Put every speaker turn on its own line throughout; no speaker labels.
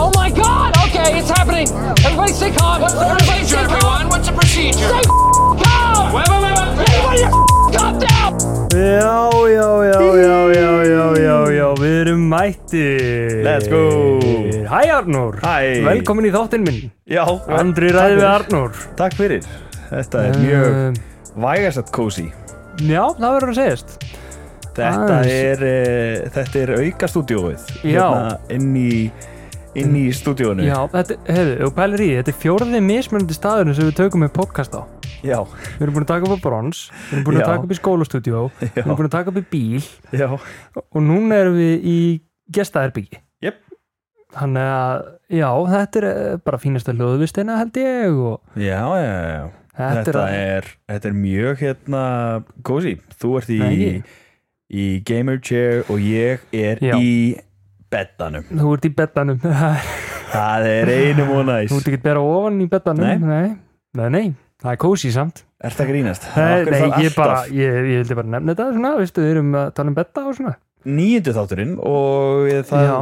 Oh my god! Okay, it's happening! Everybody stay calm! What's the procedure, everyone? What's the procedure? Stay f- calm! Everybody f- calm down!
Já, já, já, já, já, já, já, já, við erum mættir
Let's go.
Hæ Arnór
Hæ.
Velkomin í þáttinn minn
Já,
Andri ræði við Arnór
takk fyrir Þetta er mjög um, vægasett kósi
Já, það verður að segjast
Þetta
aðeins.
er, uh, þetta er auka stúdíóið
Já.
inn í, inn í stúdíóinu
Já, þetta, hefðu, ef þú pælir í, því, þetta er fjóraði mismunandi staðurinn sem við tökum með podcast á
Já,
Við erum búin að taka upp á brons, við erum búin
Já.
að taka upp í skólastúdíó, við erum búin að taka upp í bíl
já.
og núna erum við í gestaherbyggi
Jep.
Þannig að, já, þetta er eh, bara fínasta hljóðvistina held ég og
Já, já, já.
þetta,
Þetta,
er,
er, þetta er mjög hérna kósi Þú ert í,
Nei, ekki.
í gamer chair og ég er
Já.
í beddanum
þú ert í beddanum þú
Það er einum og næs
ert ekki að bera ofan í beddanum
Nei.
nei, nei, nei. það er kósi samt
Ert það grínast?
nei,
Af hverju
nei, ég,
þarf alltaf-
bara, ég, ég vildi bara nefna þetta svona, veistu, við erum að tala um bedda og svona
Níundu þátturinn og ég- það
já,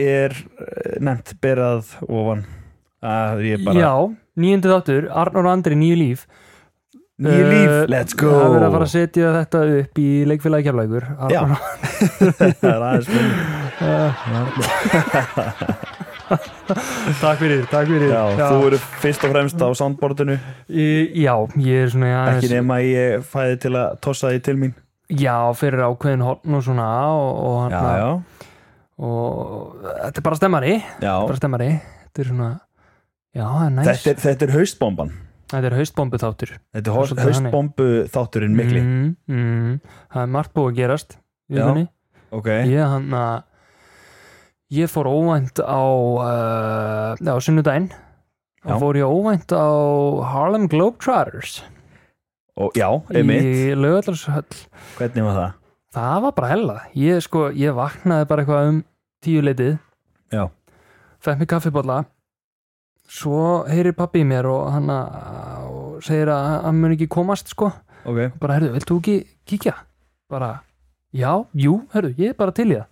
er eh, nefnt berað ofan að ég bara
já, nýjöndu þáttur Arnór og Andri, nýju líf
nýju líf,
Eh,
let's go
það er verið að fara að setja þetta upp í leikfélagi keflægur
Já. það er aðeins minn
takk fyrir, takk fyrir
já, þú eru fyrst og fremst á soundboardinu
Í- já, ég er svona
ekki
aðeins-
nema að ég fæði til að tossa því til mín
já, fyrir ákveðin hotn og svona og, og,
já,
hérna,
já,
og þetta er bara stemmari
já.
bara stemmari þetta er svona já, það er næs
Þetta, er, þetta er haustbomban
þetta er haustbombu þáttur
þetta er
Svolítið
hos- haustbombu þátturinn mikli
mm, mm, það er margt búið að gerast í
Já. eh.
vikunni.
ok,
ég hann að ég fór óvænt á uh, á sunnudaginn
Já.
og fór ég óvænt á Harlem Globetrotters
og já, einmitt
í lögallarshöll
hvernig var það?
það var bara hella ég, sko, ég vaknaði bara eitthvað um tíu leitið
já,
fekk mér kaffibólla svo heyrir pappi í mér og hann að- og segir að hann mun ekki komast sko
ok,
bara herðu, vilt þú ekki kíkja? bara, já, jú, herðu, ég er bara til í það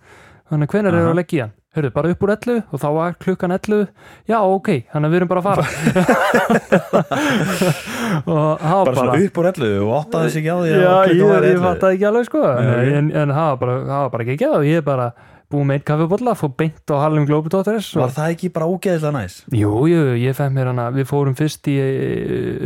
þannig hvenær er
Aha.
að leggja í hann? herðu, bara upp úr 11 og þá var klukkan 11 já, ok, þannig að við erum bara að fara og það var
bara
bara
svona upp úr ellu og áttaði sig ekki á því að
já,
klukkan
ég,
var
ég
11.
fatt ekki alveg sko
Nei.
en, en það var bara, það var bara ekki ekki og ég er bara búið með einn kaffibólla fór beint á Harlem Globetrotters og
var það ekki bara ógeðislega næs?
Jú, jú, ég fætt mér hana, við fórum fyrst í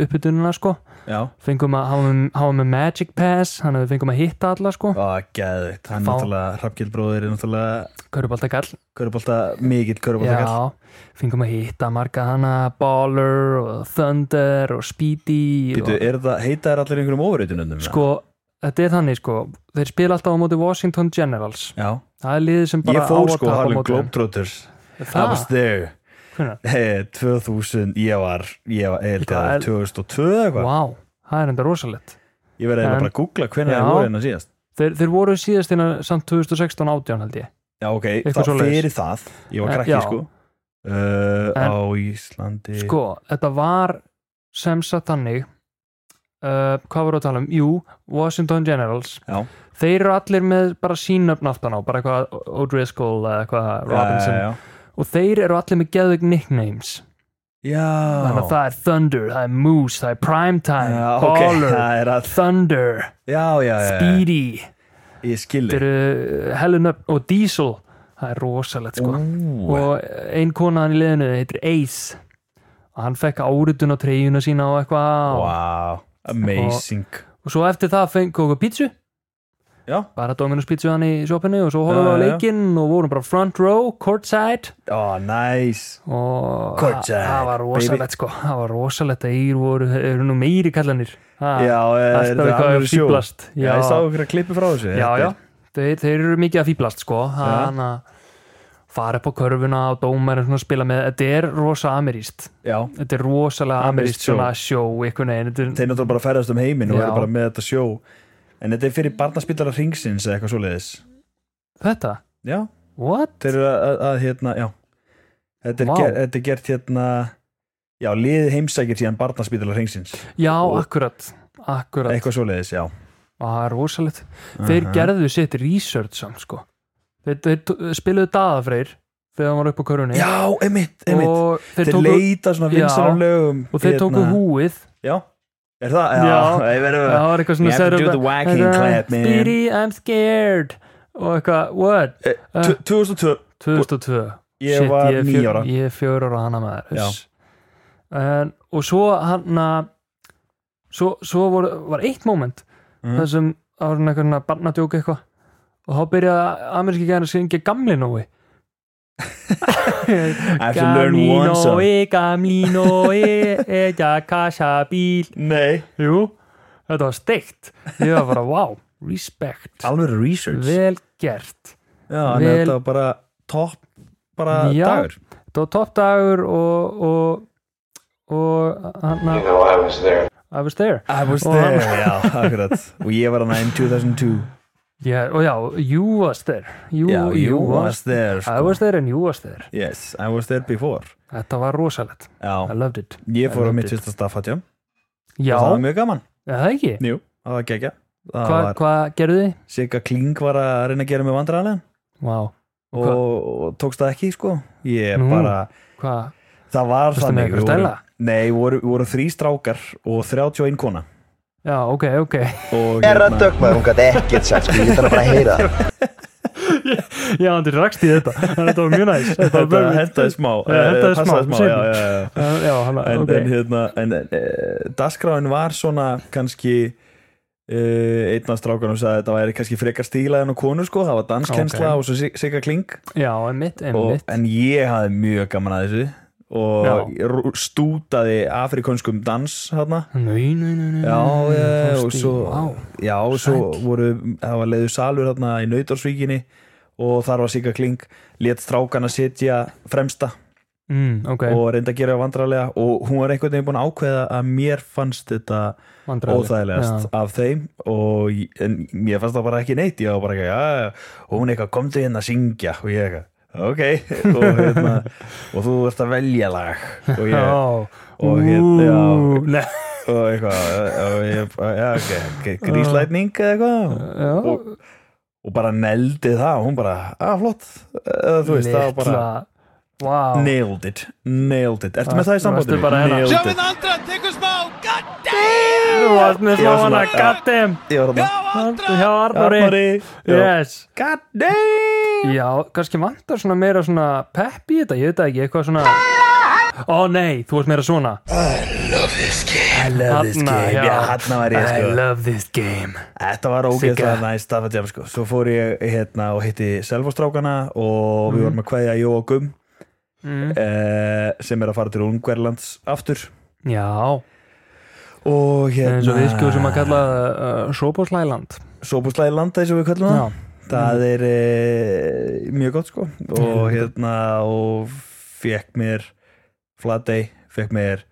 uppbytununa sko,
já,
fengum að hafa með, hafa með Magic Pass, hann að við fengum að hitta alla sko,
að geðvitt
Fá-
hann náttúrulega, Hrafngild bróðir er náttúrulega
Körubaltakall,
Körubolta, mikill köruboltakall
já, fengum að hitta marga hana, Baller og Thunder og Speedy
Býtu,
og,
er það, heita þær allir einhverjum ofurreitunundum?
sko, þetta er þannig sko, þeir spila alltaf á móti Washington Generals,
Já,
það er liðið sem bara
ég fór
á að
sko
tapa á
Harlem
móti þeim.
Globetrotters I was
það,
there
hvernig,
hey, 2000, ég var ég var, ég held að það
Hvað
var 2002 eða eitthvað
wow, það er enda rosalett
Ég verði
En-
eiginlega bara að googla hvernig
Já.
það voru hérna síðast
þeir, þeir voru síðast innan samt 2016-18 held ég
Já, ok,
Eitthvað
þá
svoleiðis.
fyrir það Ég
En-
var krakki
já.
sko uh,
En-
Á Íslandi
Sko, þetta var sem sagt þannig uh, hvað voru að tala um? Jú, Washington Generals
Já.
Þeir eru allir með bara sínöfn aftan á bara eitthvað O'Driscoll eða eitthvað Robinson
Já,
og þeir eru allir með geðug nicknames
já, já.
þannig að það er Thunder, það er Moose, það er Primetime
já, ok,
Baller,
það er Eh, að
Thunder
Já, já, já, já,
Speedy,
ég skilði
þeir eru eh, Helen Up og Diesel það er rosalegt sko
Ó,
og eh, ein kona hann í liðinu heitir Ace og hann fekk áritun á treyjuna sína og eitthvað og-
wow, amazing
og svo eftir það fengið okkur pítsu
Já.
bara Dominus pítsu hann í sjopinu og svo horfum við á
Já, já, já.
leikinn og vorum bara front row, courtside
Ó, næs
og
Courtside,
það- það var rosalegt sko það var rosalegt að þeir voru, eru nú meiri kallanir Ha,
Já, eh,
alltaf
er það
eitthvað að
alveg sjó?
fýblast
Já,
já,
ég sá ykkur að klippi frá þessu
já,
Þetta
já.
er-
Þeir, þeir eru mikið að fýblast sko þannig að fara upp á körfuna og dómar og spila með, þetta er rosa ameríst
já.
þetta er rosalega ameríst
Amerískt
svona sjó einhvern veginn, þetta er
Þeir náttúrulega bara ferðast um heiminn og
Já.
eru bara með þetta sjó en þetta er fyrir barnaspillara ringsins eða eitthvað svoleiðis
Þetta?
já,
What?
þeir eru að, að, að hérna, já þetta er,
Vá.
ger, þetta er gert hérna já, liðið heimsækir síðan barnaspillara ringsins
Já,
Og-
akkurat Akkurat,
eitthvað svoleiðis, já
það er rosalegt Þeir
Aha.
gerðu sitt research samt sko Þeir, þeir t- spiluðu daðafreyr þegar hann var upp á körunni
já, emitt, emitt
og þeir,
þeir
tóku,
leita svona vinsarum lögum hérna.
og þeir tóku húið
já, er það? já,
Já.
ég verður
það var eitthvað svona
Uh, You have to do the whacking clap, man.
Speedy, I'm scared og eitthvað, what? Uh,
Eh, tv- 2002
2002
ég
Shit,
var
er
nýja
fjör-
ára
ég er fjör ára hana maður
Já.
uss. en, og svo hann svo, svo voru, var eitt moment
Mhm.
þar sem það var svona eitthvað barnadjók eitthvað og þá byrjaði ameríski gæðan að syngja gamli nói
have to learn one song.
nói, gamli nói eða kassa bíl
nei,
jú, þetta var steikt ég var bara, wow, respect
alveg research
vel gert
já, en
vel-
þetta var bara topp bara
Já.
dagur
þetta var toppdagur og og, og hann
You know I was there.
I was there
I was
Og-
there, já, akkurat og ég var hann in 2002
yeah, og já, you was there you,
já, you was there sko.
I was there and you was there
yes, I was there before
þetta var rosalegt, I
já,
loved it
ég fór
I
á
loved
mitt
it.
fyrsta staffatjá
já,
það var
er
mjög gaman,
það ekki
jú, það var gegja það
hvað
var,
hva gerðu þið?
Sigga Kling var að reyna að gera mig vandræðanlega
Wow.
og, og tókst það ekki, sko ég
Nú.
bara,
Hvað,
það var
varstu með
þannig
eitthvað
við vorum-
stæla?
nei, voru, voru þrý strákar og 31 kona
Já, ok, ok
og hérna,
Herra Dögg maður, hún gæti ekkert sagt, sko, ég ætla bara að heyra það.
Já, hann er rakst í þetta, en þetta var mjög næst Þetta var
þetta
mjög næst
hentaði smá,
Já, hentaði
eh, passaði
smá,
smá já, já, já.
Já, hann,
en,
ok
en hérna en, en, e, dagskráin var svona kannski e, einn af strákunum sagði að þetta væri kannski frekar stílað en á konur sko, það var danskensla
Ok.
og svo Sig- Sigga Kling
Já, einmitt,
og,
einmitt
en ég hafði mjög gaman að þessu og ég rú- stútaði afrikonskum dans hérna
Nei, nei, nei, nei
Já,
nei,
já, já,
fórst
og
í-
svo-
Mm, Vá.
já og svo
Sæll.
voru, það var leiðu salur hérna í Nautorsvíkinni og þar var Sigga Kling let strákan að sitja fremsta
Mm, Ok,
og reynda að gera vandrarlega og hún var einhvern veginn búin að ákveða að mér fannst þetta
vandræðilegt.
óþægilegast af þeim og ég- en mér fannst það bara ekki neitt ég var bara ekki, já, já, og hún eitthvað komdu hérna að syngja og ég eitthvað, ok og, hérna, og þú ert að velja lag og
Já,
ég, og hérna, já.
hérna
og eitthvað og ég, já, ok, ok, gríslætning eða eitthvað
Já,
og, og bara neldi það og hún bara, að flott eða, þú veist, það var bara
litla Vá
nailed it, nailed it ertu
Það-
með það í sambandinu?
varstu bara hérna.
Nailed it.
Þú varst með
Ég var
smáana,
svona, ja.
goddamn
ég var þarna,
Vartu hjá Arnóri
Arnari já.
Yes
god damn
Já, kannski vantar svona meira svona pepp í þetta, ég veit það ekki, eitthvað svona Ó nei, þú varst meira svona
I love this
Þarna,
game,
já.
já, hann var ég
I
sko
love this game
Þetta var ógeðslega næst af að jam sko Svo fór ég hérna og hitti Selvostrákana og
Mhm.
við vorum að kveðja Jó og Gum
Mm.
eh, sem er að fara til Ungverlands aftur
Já,
og
eins og
hérna
við skjóðum að kalla uh, Sjóbóslæland
Sóbúslæði landa eins og við köllum það
Já, Mhm.
Það er eh, mjög gott sko og hérna og fekk mér Flatey, fekk mér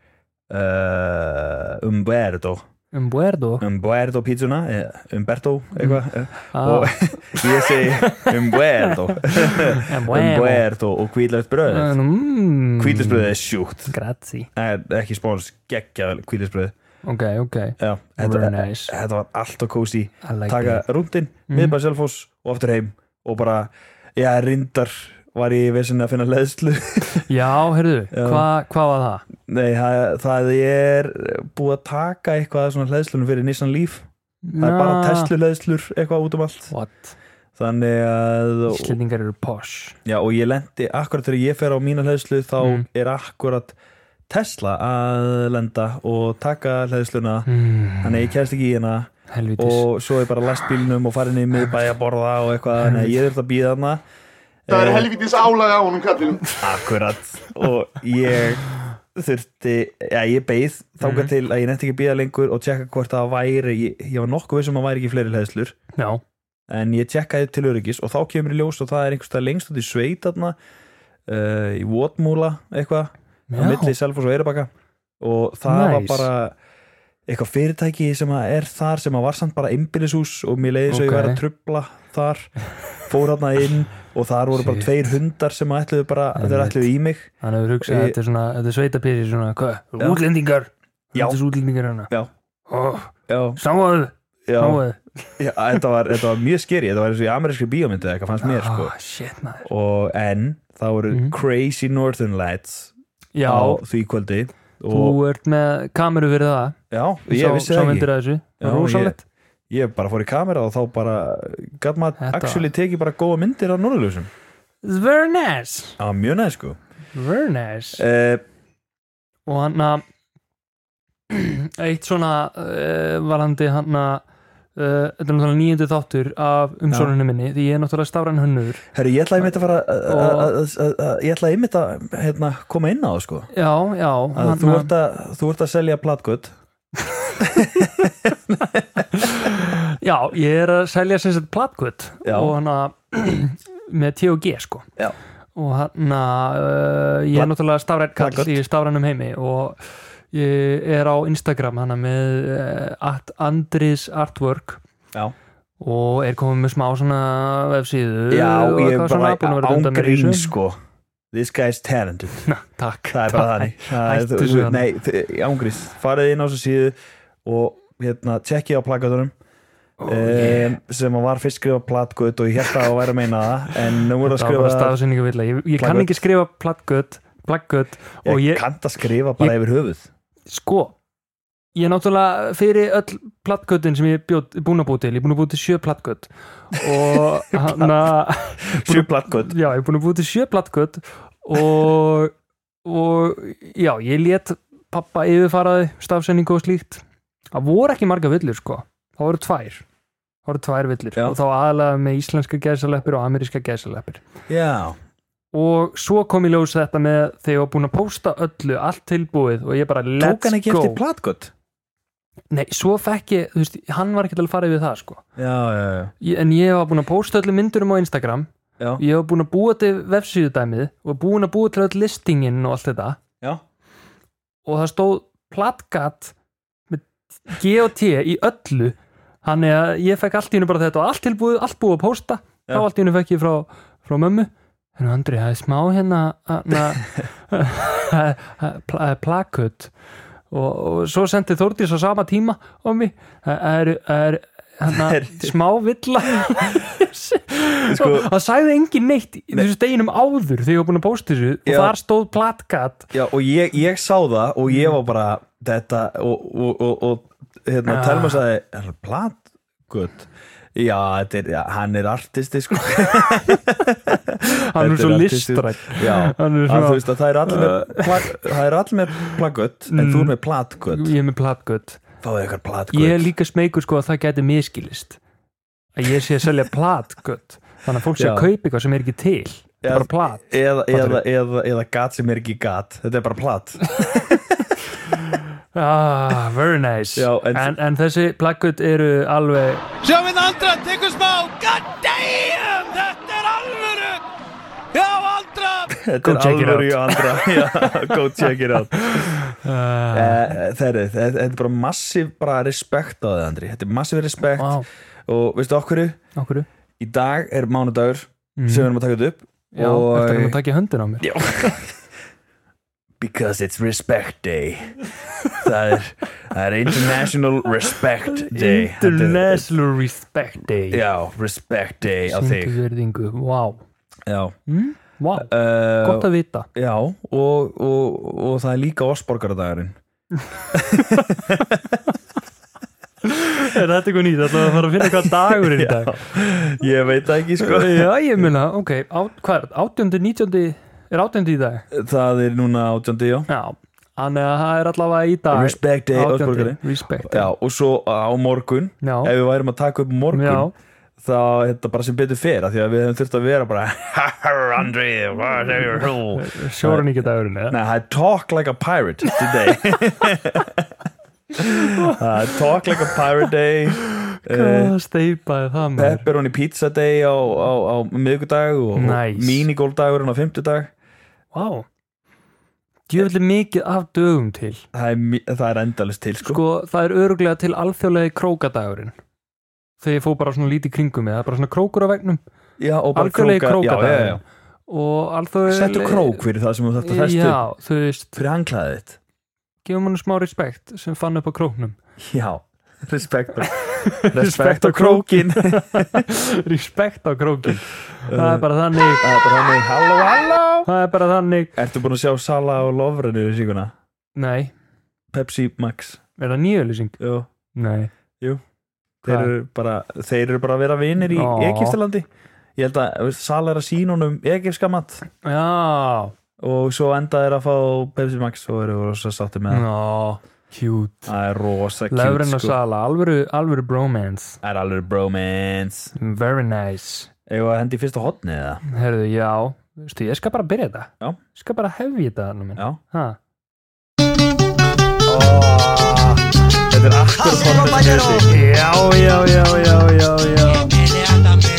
uh, Umberto
um Buerdo
Umberto pizzuna, eh, Umberto eitthvað eh,
ah,
og ég segi umbuerto
Um
umbuerto og kvíðlögt bröð
Mm,
kvíðlögsbröð er sjúkt
Grazie
Það er ekki spóns, geggja vel kvíðlögsbröð
Ok, ok,
þetta,
very
þetta
nice
var allt og kósi
I like
taka
that
rúndin,
Mhm.
miðbæð selfos og aftur heim og bara, já, rindar var ég vesinni að finna leðslu
Já, heyrðu,
Já.
hvað hva var það?
nei, það, það er búið að taka eitthvað af svona leðslunum fyrir Nissan Leaf það er bara
Já.
Tesla leðslur eitthvað út um allt
What?
þannig að
Íslendingar eru posh
Já og ég lendi akkurat þegar ég fer á mína hlæðslu þá
Mm.
er akkurat Tesla að lenda og taka hlæðsluna
mm,
þannig að ég kæst ekki í hérna
Helvitis
og svo er bara last bílnum og farin í miðbæ að borða og eitthvað þannig að ég þurft að býða hana
Það er helvitis álag á honum kallinu.
akkurat og ég þurfti, já ég beið þáka
Mhm.
til að ég nefndi ekki að býða lengur og tjekka hvort það væri, ég, ég var nokkuð vissum að væri ekki fleiri hlæðslur
Já,
en ég tjekkaði til öryggis og þá kemur í ljós og það er einhverstað lengst út í sveit þarna, uh, í Votmúla eitthvað, á
Já.
milli Selfoss og Eirabakka og það var
Nice.
bara eitthvað fyrirtæki sem að er þar sem að var samt bara einbýlishús og mér leiði svo ég
Ok.
væri að trubla þar fór hann inn og þar voru bara
Shit.
tveir hundar sem að ætluðu bara, þeir
Einmitt.
ætluðu í mig
Þannig að við hugsa
Ég-
að þetta er svona, þetta er sveitapyrir svona, hvað,
Já.
útlendingar
Já.
Þetta er svo útlendingar hérna. hana
Já.
oh,
Já,
Sáuðu,
já,
sáuðu
já þetta, var, þetta var mjög skeri þetta var eins og í amerískri bíómyndi eða eitthvað fannst mér sko.
Ah, Shit maður
og en það voru
Mhm.
Crazy Northern Lights
Já,
á því kvöldi
þú
og
ert með kameru fyrir það
já, ég vissi
sá
það ekki
myndir að þessu,
Já,
það var rosalegt
ég bara fór í kamera og þá bara gæt maður
Þetta-
actually tekið bara góða myndir af norðljósum
It's very nice,
það var mjög næði sko
very nice
uh,
Og hann að Eitt svona uh, varandi hann að Uh, þetta er náttúrulega nýjöndu þáttur af umsorunni minni því ég er náttúrulega stafran hönnur
herru, ég ætlaði einmitt að fara að-
Og-
að- að- að- að- ég ætlaði einmitt að hérna, koma inn á það sko
já, já
að
hann
þú,
að-
ert að, þú ert að selja platkött
Já, ég er að selja sem sagt platkvöld
Já.
og hann að með T og G sko
Já.
og hann að uh, ég er
Plat-
náttúrulega stafræn kall
plaköt.
í stafrænum heimi og ég er á Instagram hann að með uh, Andris Artwork
já,
og er komið með smá svona vefsíðu
já
og
ég
eitthvað
er
svona búin að
bara
vera að dunda mér í
ángrín
þessu.
sko this guy's talented
Na, Takk
það er bara þannig Það er-
hættu
þú-
þessu
þú- nei, þið- ángríns, farið inn á þessu síðu og hérna, tjekkið á plakkatunum
Ó,
Um, sem að var fyrst skrifa platgöt og ég held að það væri að meina það en nú er að
Það var bara
skrifa
stafsynningu vilja ég, ég kann
Plaköt.
ekki skrifa plakkvöld plakkvöld og
ég,
ég
kannt að skrifa bara yfir höfuð
sko ég er náttúrulega fyrir öll plattgötin sem ég er búin að búi til ég er búin að búi til sjö plattgöt og hann að
sjö plattgöt
já, ég er búin að búi til sjö plattgöt og, og já, ég let pappa yfirfaraði stafsendingu og slíkt það voru ekki marga villur sko það voru tvær það voru tvær villur
Já.
og þá aðalega með íslenska gæsaleppir og ameríska gæsaleppir
já,
og svo kom ég ljósa þetta með þegar ég var búin að pósta öllu, allt tilbúið og ég bara
tók
let's
hann ekki
go
eftir plattgöt
Nei, svo fekk ég, þú veist, hann var ekki alveg farið við það sko
já, já, já,
ég, En ég var búin að pósta öllu myndurum á Instagram
Já.
Ég var búin að búa til vefsíðudæmið og búin að búa til öll listingin og allt þetta
já.
og það stóð platgat með G og T í öllu Þannig að ég fekk allt í hennu bara þetta og allt tilbúið, allt búið að pósta
Já.
Þá allt í hennu fekk ég frá, frá mömmu Hérna Andri, það er smá hérna, hérna plakut og, og svo sendi Þórdís á sama tíma á mig það er, það er hana, smá villa sko, það sagði engin neitt í þessu deginum áður þegar ég var búin að posta þessu
Já.
og þar stóð platgat
já og ég, ég sá það og ég var bara þetta og, og, og, og hérna,
Ah.
Telma sagði, er það plattgöt já, þetta er, já, hann er artisti sko
hann
Þetta
er svo
er artisti.
listrætt
já,
Hann er
að,
svona- Ah.
þú veist að það er allir með plat- það er allir með plattgöt en þú er með plattgöt
Mm. ég er með platgöt
fáðu eitthvað plattgöt
ég er líka smeykur sko að það gæti miskilist að ég sé að selja platgöt þannig að fólk sé
Já.
að kaupa eitthvað sem er ekki til það er bara plat
eða, eða,
Fattarðu?
eða, eða gat sem er ekki gat þetta er bara plat
ah, very nice
Já, en-
en, en, þessi platgöt eru alveg
Sjáum við Andra, tekur smá God damn, þetta er alvöru Já, Andra
þetta
Go check it
er alvöru í andra Já, go check it out
Ah.
uh, þeirri, þetta þetta er bara massíf bara respekt á þið Andri þetta er massíf respekt
wow,
og veistu okkur
okkur
í dag er mánudagur sem við erum að taka þetta upp
Mhm. Já, og...
Og-
eftir að taka í höndin á mér
Já. Because it's respect day það er, það er international respect day Þetta er-
International Respect Day
Já, respect day á
Sýndu
þig
virðingu, wow,
Já
wow.
uh,
gott að vita
Já, og, og, og það er líka osborgaradagurinn
Er þetta eitthvað nýtt, ætlaðu að fara að finna hvað dagur er í dag
Ég veit það ekki sko
Já, ég meina, ok, á, hvað er, 18. 19. er 18. í dag?
Það er núna átjöndi, já
Já, þannig að það er allavega í dag
Respect day,
18.
Osborgari
Respect
Já,
Day,
og svo uh, á morgun
já,
Ef við værum að taka upp morgun
já,
Þá er þetta bara sem betur fer af Því að við hefum þurft að vera bara Andri, what are you doing?
sjórun ekki dagurinn eða?
Nei, það er talk like a pirate today Það er talk like a pirate day uh,
Hvað steipaði það maður?
Pepperoni pizza day á, á, á miðgudag og,
Nice.
og minigóldagurinn á fimmtudag
Vá, djöfulli mikið af dögum til
það er, mi- það er endalist til sko,
sko, það er öruglega til alþjóðlega krókadagurinn þegar ég fó bara svona lítið kringum mig, það er bara svona krókur á vegnum
já, og bara
alþjóðlega
króka- já, já, já.
krókadagurinn og alþjóðlega
settu krók fyrir það sem þú þarft að festu
já, þú veist,
fyrir hanglaðið þitt
gefum hann smá respekt sem fann upp á króknum
já, respekt á-
Respekt
respekt
á
á krókin það
respekt á krókin
Eh.
það er bara þannig
er bara hann halló, halló
það er bara þannig,
ertu búin að sjá Sala og Lovren í síkuna?
nei
Pepsi Max
er það nýjölusing?
Jú.
nei,
þeir
Hvað?
eru, bara, þeir eru bara að vera vinir í
Ó.
Egiptalandi ég held að veist, Sala er að sína honum egipska mat
já
og svo enda þeir að fá Pepsi Max og eru rosa sátti með það
Ná, cute
það er rosa
Lefren
kjút
og
sko.
Sala, alvöru, alvöru bromance
það er alveg bromance
Very nice
eða hendi fyrst á hotni eða
Herðu, já, veistu, ég skal bara byrja þetta
Já.
Ég skal bara hefja þetta þarna minn
já
Ha,
þetta er akkur tónlist
Já, já, já, já, já, já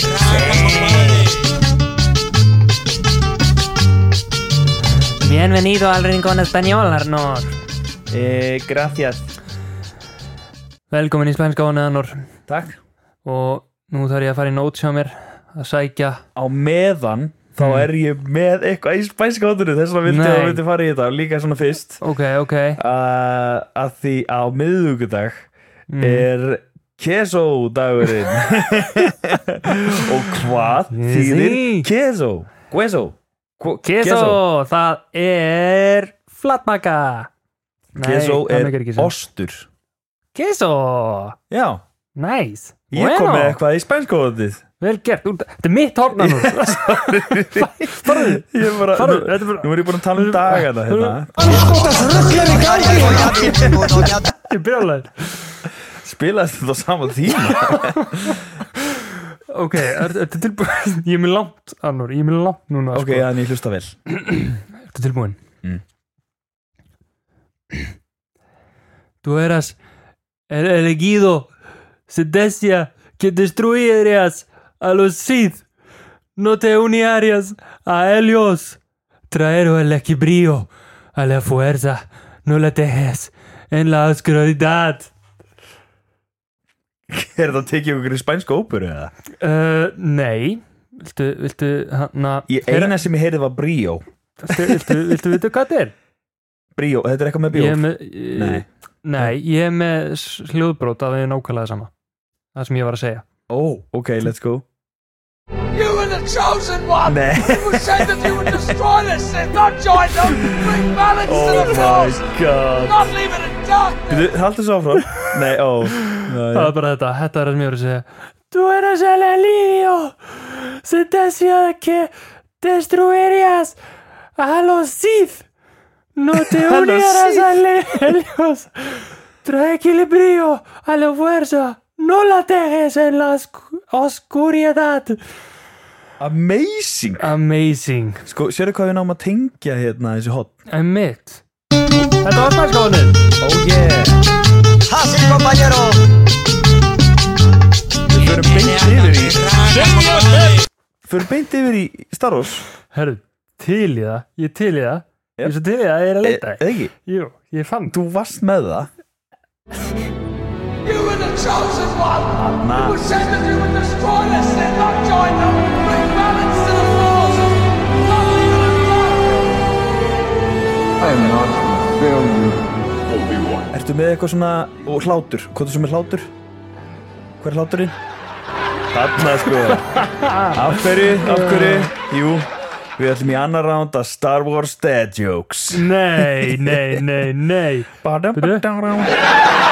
Bienvenido al Rincón Español, Arnór
eh, gracias
Velkomin í spænska honið, Arnór
takk
Og nú þarf ég að fara í nót hjá mér að sækja
á meðan þá er ég með eitthvað í spænska hotinu þess vegna vildi
Nei.
að vildi fara í þetta líka svona fyrst
Ok, ok,
uh, að því á miðvíkudag
Mm.
er keso dagurinn og hvað
Ég
þýðir
sé.
keso queso
Keso, það er flatmaka Nei,
keso
það
er
mikið ekki sem.
ostur
Keso,
já,
nice
ég kom með eitthvað í spænskóðið
Vel gert, Úr- þetta er mitt horna nú
ég bara,
Farðu,
nú,
þetta er bara-
nú er ég búin að tala um dagana hérna.
Þetta er brjálæður
spilaðist þetta á sama tíma
Ok, er- ertu tilbúin Ég er mér langt, Arnur, ég er mér langt núna
ok,
sko.
þannig ég hlusta vel
Ertu tilbúin
Mm.
Tú eras el elegido Sedecia que destruirías a los Sith No te unirías a ellos Traero el equilibrio a la fuerza No la dejes en la oscuridad
er þetta að tekið ykkur í spænsku óperu eða?
Uh, nei Viltu, viltu, hana
Ég, eina sem ég heyrið var brio
viltu, viltu, viltu, viltu hvað þetta er?
brio, þetta er eitthvað með
Ég er
bjór
með,
Nei.
nei, ég er með s- hljóðbrot að það er nákvæmlega sama Það sem ég var að segja
ó, ok, let's go
You were the chosen one.
Nah.
It was said that you would destroy this and not join them. Bring balance to the force.
god
Not leave it in darkness.
Byrju, haldur svo áfram Nei, ó
Það
Nei.
var bara þetta, þetta var það sem ég var að segja Þú er að selja lífjó Se desviada que destruirías a los Sith No te
A los
unieras
Sith.
a le- ellos Trae equilibrio a la fuerza No la dejes en la oscu- oscuridad
Amazing
Amazing
Sko, sérðu hvað við náum að tengja hérna þessi hot
Emitt Þetta var spænskóðunin
Oh yeah Við förum beint yfir í Förum beint yfir í Star Wars
Herru, til í það, ég er til í það Ég er svo til í það, ég er að
E-
leita
Eða ekki?
Jú, ég fann
Þú varst með það
You were the chosen one.
Nah.
It was said that you would destroy this and not join them. Bring balance to the force. Not leave it in darkness.
Obi-Wan.
Ertu með eitthvað svona Og hlátur Hvað er svo með hlátur? Hver er hláturinn? Þarna sko Af hverju? Af hverju? Jú Við ætlum í annar round að Star Wars Dead Jokes
Nei, nei, nei, nei
Bara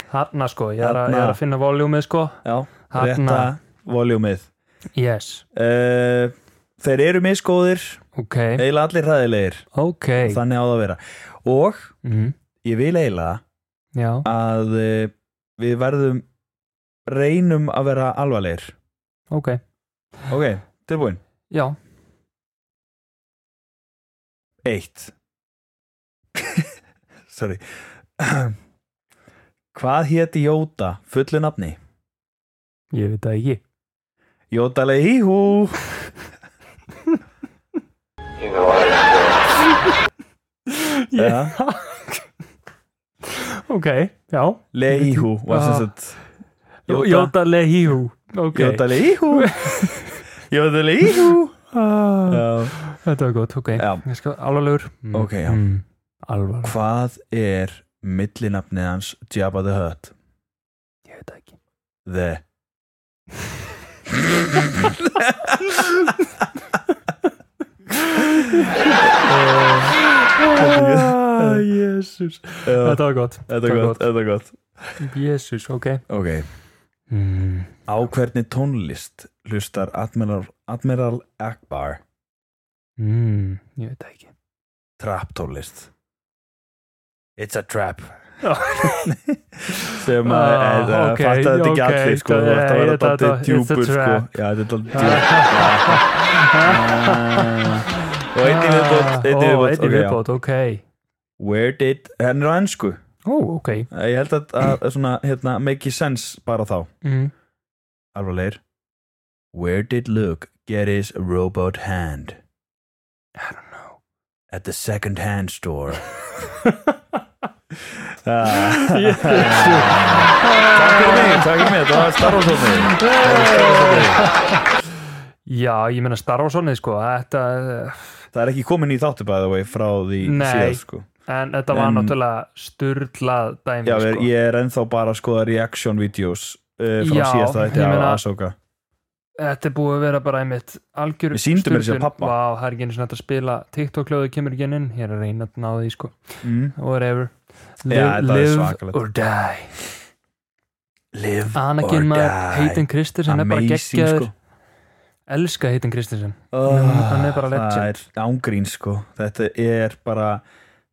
Hanna sko, ég er, að, ég
Þarna.
er að finna voljúmið sko
Já,
Þarna.
rétta voljúmið
Yes,
uh, Þeir eru misgóðir
ok,
eiginlega allir hræðilegir,
ok
þannig á það að vera og
mm,
ég vil eiginlega
Já,
að uh, við verðum reynum að vera alvarlegir
ok,
Ok, tilbúin
já
Eitt Sorry Hvað héti Jóta fullu nafni?
Ég veit það ekki
Jóta leihíhú ja.
ok, já
Leihu var sem sagt Jóta.
Jóta Lehiú ok,
Ah. Jóta Leihu Jóta Leihu
Ah,
Já,
þetta var gott, ok
Já.
Ég skal alvarlegur mm.
ok, já
mm. alvarlegur,
Hvað er millinafnið hans Jabba the Hutt?
ég veit það ekki
The
ah, jésus
Þetta
þetta var gott,
þetta er gott, þetta er gott
jésus, ok
Ok,
mm.
á hvernig tónlist hlustar Admiral, Admiral Akbar
Mm. ég veit það ekki
trap tónlist It's a trap
Já.
sem að
Ah,
ah,
ok,
okay, fatta þetta
ok,
ekki allir sko,
þetta-
þú ætti að vera
þetta-
daldið
þetta- it's a
djúpur sko.
trap.
já, þetta er daldið djúpur
Ah,
Ah. og einnig viðbót
Ó,
einnig viðbót,
einnig
ok, já.
viðbót, ok
where did, henn er á ennsku
ó, ok
ég held að, að svona, hérna, make sense bara þá,
mm.
alvarlegir where did Luke get his robot hand
I don't know
at the second hand store Ah. Takk fyrir mig, takk fyrir mig, þetta var starfhóðsóðni
Já, ég meina Star Wars onnið sko þetta,
Það er ekki komin í þáttu by the way frá því
Nei.
síðast sko
En þetta var
En-
náttúrulega sturlað dæmi
Já,
sko.
ég er ennþá bara að skoða reaction videos uh,
Já,
frá síðast að
ég
þetta
meina-
á Asoka
Þetta er búið að vera bara einmitt algjör
Við sýndum meira að segja
sturlun.
pabba.
Vá, það er ekki einu sinni hægt að spila TikTok-löðu kemur ekki inn Ég er að reyna að ná því sko
mm.
Whatever
Já, þetta er svakalegt.
or die
Live
Anakin maður Heitin Kristinsen er bara
Amazing
geggjaður
sko
Elska Heitin Kristinsen hann
Hann
er bara legend.
Það er ángrín sko Þetta er bara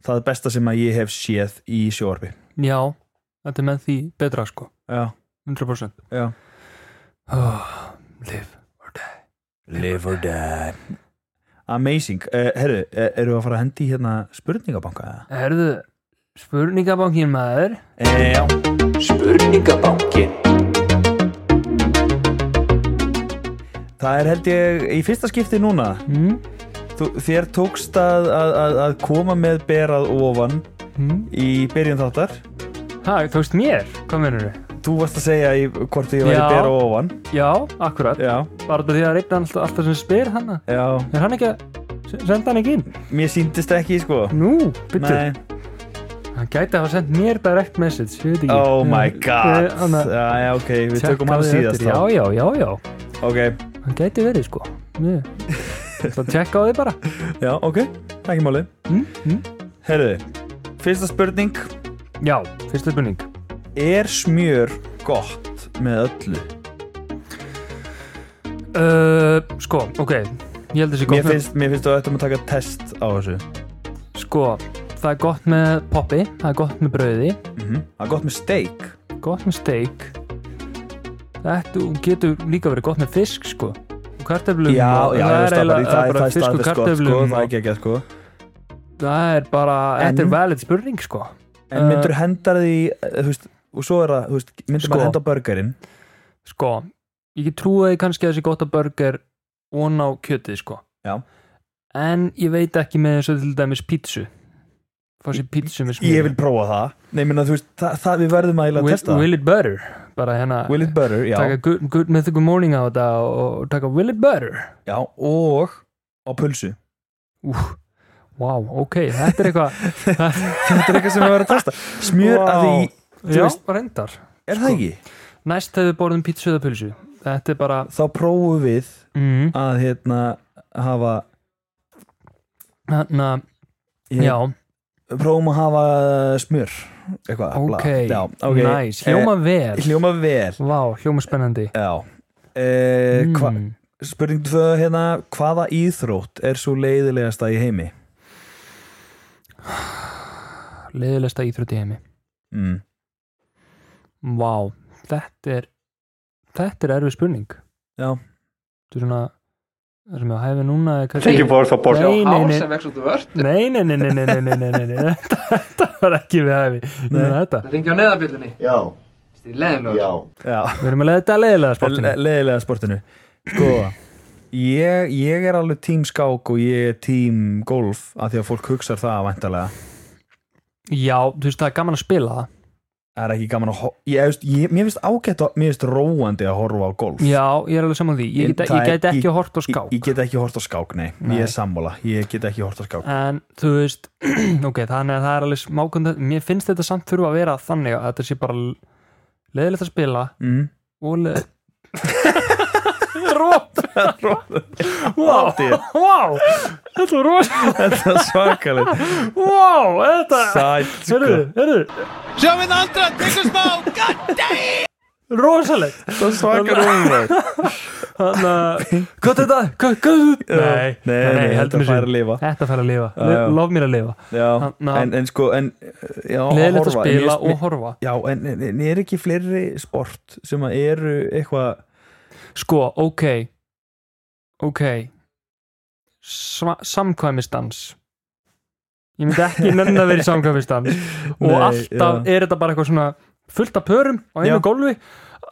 það besta sem að ég hef séð í sjóarpi
Já, þetta er með því betra sko
Já,
100%
já
oh, Live or die
Live or die Amazing, uh, herru, eh, erum við að fara að hendi í hérna spurningabanka eða?
Herðu, spurningabankin maður
E, já Spurningabankin Það er held ég í fyrsta skipti núna
mm?
Þú, Þér tókst að, að, að, að koma með berað ofan
Mm?
í byrjun þáttar
Ha, tókst mér? Hvað mennur þau?
Þú varst að segja í, hvort ég væri
Já.
berað ofan
Já, akkurat
Já,
Bara þetta því að reyna alltaf, alltaf sem spyr hana
já
Er hann ekki að s- senda hann ekki inn?
Mér síndist ekki sko
Nú, byttu
Nei,
Hann gæti að hafa sendt mér direct message Ég veit ekki
oh my
Eh,
god
eh, hann að-
Já, já, ok, við
Tjekkaðu
tökum hann síðast
eftir. Já, já, já, já
þá. Ok,
Hann gæti verið sko Mjög. Svo tjekka á því bara
Já, ok, ekki máli
Mm, mm.
Hm? Herðu, fyrsta spurning
Já, fyrsta spurning
Er smjör gott með öllu?
uh, Sko, ok Ég held þessi
Mér
gott með
finnst, mér finnst þú ættum að taka test á þessu
Sko, það er gott með poppi Það er gott með brauði
Það er gott með steik
gott með steik þetta og getur líka verið gott með fisk sko og kartöflum og
það er
eiginlega-
staðfest- það er- það
bara
er
fisk og
staðfest gott sko,
kartöflum
það er
og-
ekki ekki sko
það er bara,
En-
þetta er valid spurning sko
En myndur hendar því, eh, þú veist, og svo er það, þú veist, myndur
Sko.
maður henda á burgerinn
sko, ég trúi kannski að þessi gott að burger von á kjötið sko
Já.
en ég veit ekki með þessu til dæmis pítsu fá sér pítsu með smjöri
Ég vil prófa það Nei, minna, þú veist, það, það við verðum að eiginlega að
will,
testa það
will it butter bara hérna
Will it butter, já,
taka good, good mythical morning á þetta og, og taka will it butter
já Og á pulsu
Vá, ok, þetta er eitthvað
Þetta er eitthvað sem við verðum að testa Smjör, wow.
Vá. Sko.
að því, þú
Já,
veist-
reyndar
er það ekki?
Næst þegar við borðum pítsu eða pulsu Þetta er bara
Þá prófum við
mm,
að hérna hafa
hana,
ég,
Já,
prófum að hafa uh, smjör eitthvað bla.
ok,
já, ok
Nice, hljóma
eh,
vel
hljóma vel
Vá, hljóma spennandi
já eh, hva,
Mm.
spurning tvö hérna hvaða íþrótt er svo leiðilegasta í heimi
Leðilegsta íþrótt í heimi
mm.
Vá, þetta er Þetta er erfið spurning
já
Þetta er svona Það sem ég á hæfi núna er kannski-
Thank you for support.
Nei, nei,
hár
nei,
sem vex út af vörn
nei, nei, nei, nei, nei, nei, nei, nei, nei, nei. Þetta, þetta var ekki við hæfi Ég meina þetta.
það ringi á neðabjöldinni
Já,
það er leðinlega
já.
já
Við erum að leiða þetta leðilega sportinu
Le- leiðilega sportinu sko ég, ég er alveg tím skák og ég er tím golf af því að fólk hugsar það væntalega
já, þú veist það er gaman að spila það
það er ekki gaman að ho- ég, veist, ég, mér finnst ágætt að, mér finnst róandi að horfa á golf
já, ég er alveg saman því, ég get,
Það
ég
er-
get ekki hort á
ég,
skák
ég get ekki hort á skák, nei,
Nei.
ég er sammála ég get ekki hort á skák
en þú veist ok, þannig að það er alveg smákund mér finnst þetta samt þurfa að vera þannig að þetta sé bara leðilegt að spila
mm.
og leð róp wow,
Róp, já.
wow þetta var rosa
þetta er svakalit
wow, þetta
sæt,
Hörru,
sko.
hörru,
Sjöfinn Andra, tekur smá, god damn!
rosalegt
þetta er svakalit
Þannig að, hvað er þetta? Hvað, hvað er þetta? Nei,
nei, nei, þetta
heldur mér
fær
sér
að lifa
Þetta fær að lifa,
Já, já.
lof mér að lifa
já,
Þarna-
en, en sko en, já,
Leðilegt að
horfa. Mér
spila
finnst- mér-
og horfa
já, en, en, en er ekki fleiri sport sem að eru eitthvað
Sko, ok Ok Sva- Samkvæmistans Ég myndi ekki nenni að vera í samkvæmistans Og
Nei,
alltaf
já.
er þetta bara eitthvað svona fullt af pörum á einu
Já.
gólfi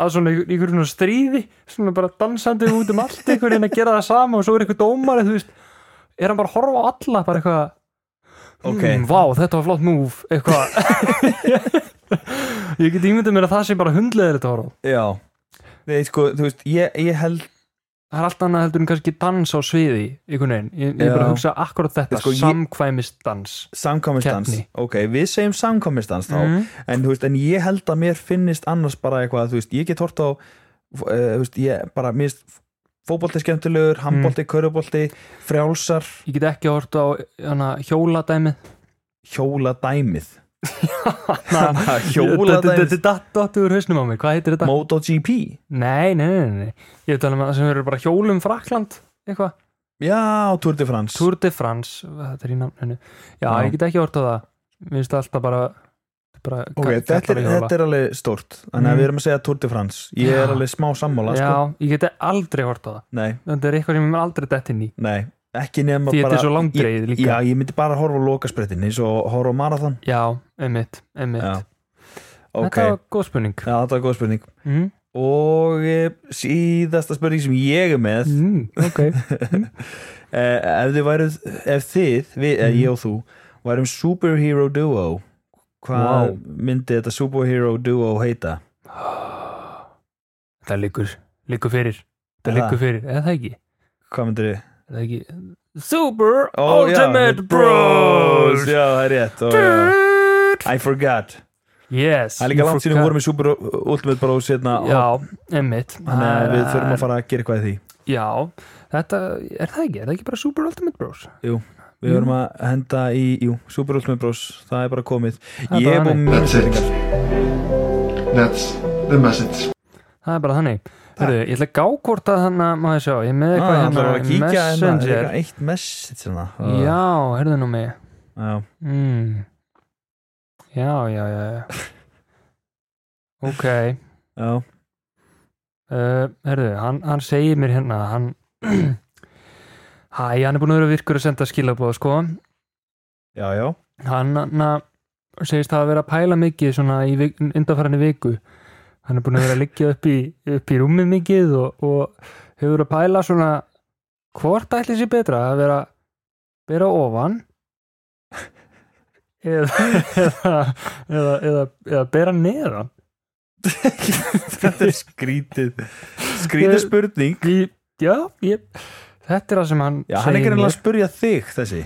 að svona í í einhverjum svona stríði svona bara dansandi út um allt einhvern veginn að gera það sama og svo er eitthvað dómari þú veist, er hann bara að horfa á alla bara eitthvað
Ok.
mm, vá, þetta var flott múf eitthvað ég get ímyndið mér að það sé bara hundleðir þetta horf
já, nei, sko, þú veist ég, ég held,
það er allt annað heldur en kannski dans á sviði einhvern veginn, ég, ég er bara
Já.
að hugsa akkurat þetta,
Sko,
sko,
ég-
samkvæmistans
samkomistans
Keppni. Mhm.
ok, við segjum samkomistans þá en þú veist, en ég held að mér finnist annars bara eitthvað, þú veist, ég get hort á uh, þú veist, ég bara, mér finnst fótbolti skemmtilegur, handbolti, mm. körubolti frjálsar,
ég get ekki hort á hana, hjóladæmið
hjóla dæmið hjóla
Þetta- þetta
dæmið
er dattu úr hausnum á mig, hvað heitir þetta?
MotoGP
Nei, nei, nei, nei, ég tala um að það sem eru bara hjólum Frakland, eitthvað,
já, Tour de France
Tour de France þetta er í namninu, já,
Já.
ég get ekki hort á það mér finnst það alltaf bara bara
ok,
kallar
þetta er,
í hjóla.
þetta er alveg stórt þannig
Mm.
að við erum að segja Tour de France ég
Já.
er alveg smá sammála,
já,
sko
ég get aldrei hort á það
nei,
þetta er eitthvað sem ég mér aldrei dett inn í
nei, ekki nema
Því þetta
bara
er svo langdregið
Ég-
líka.
já, ég myndi bara horfa á lokasprettin eins og horfa á marathon
já, einmitt, einmitt
já, ok,
þetta var góð spurning
já, þetta var góð spurning
mm.
Og eh, síðasta spurning sem ég er með mm.
Mm, ok
ef, þið væruð, ef þið, við, mm. ég og þú værum superhero duo hvað
Vá.
myndi þetta superhero duo heita?
Það liggur, liggur fyrir Það
Er það?
liggur fyrir, eða það ekki,
Hvað myndir þið?
eða það ekki. Super Ultimate Bros
Já, það er rétt og, já. I forgot
Yes
Það er líka langt síðan við vorum í Super Ultimate Bros hérna
Já, Ah.
og
emmitt
þannig að við þurfum að fara að gera eitthvað í því
Já, þetta, er það ekki, er það ekki bara Super Ultimate Bros Mm.
Við verum að henda í, jú, Super Ultimate Bros Það er bara komið
er
Ég
bara
er búin
þannig.
mjög
That's it. That's the message.
Það er bara þannig Hörru, ég ætla að gá hvort að hann að, maður sjá, ég er með eitthvað
Ah, það var að
hérna,
kíkja hérna, það er
Messenger
eitthvað eitt message svona.
Já, hörðu nú mig
já.
mm. Já, já, já, já Ok
já.
uh, herðu, hann, hann segir mér hérna að hann hæ, hann er búin að vera virkur að senda skilabóð sko,
já, já,
hann, hann að- segist það að vera að pæla mikið svona í vik, undanfæranni viku hann er búin að vera að liggja upp í, upp í rúmi mikið og, og hefur verið að pæla svona hvort ætli sér betra að vera vera ofan eða eða, eða, eða, eða bera neðan
þetta er skrítið skrítið
Ég-
spurning
Í- já, ég þetta er það sem hann
já, hann er
segir
ekki
mér.
að spurja þig þessi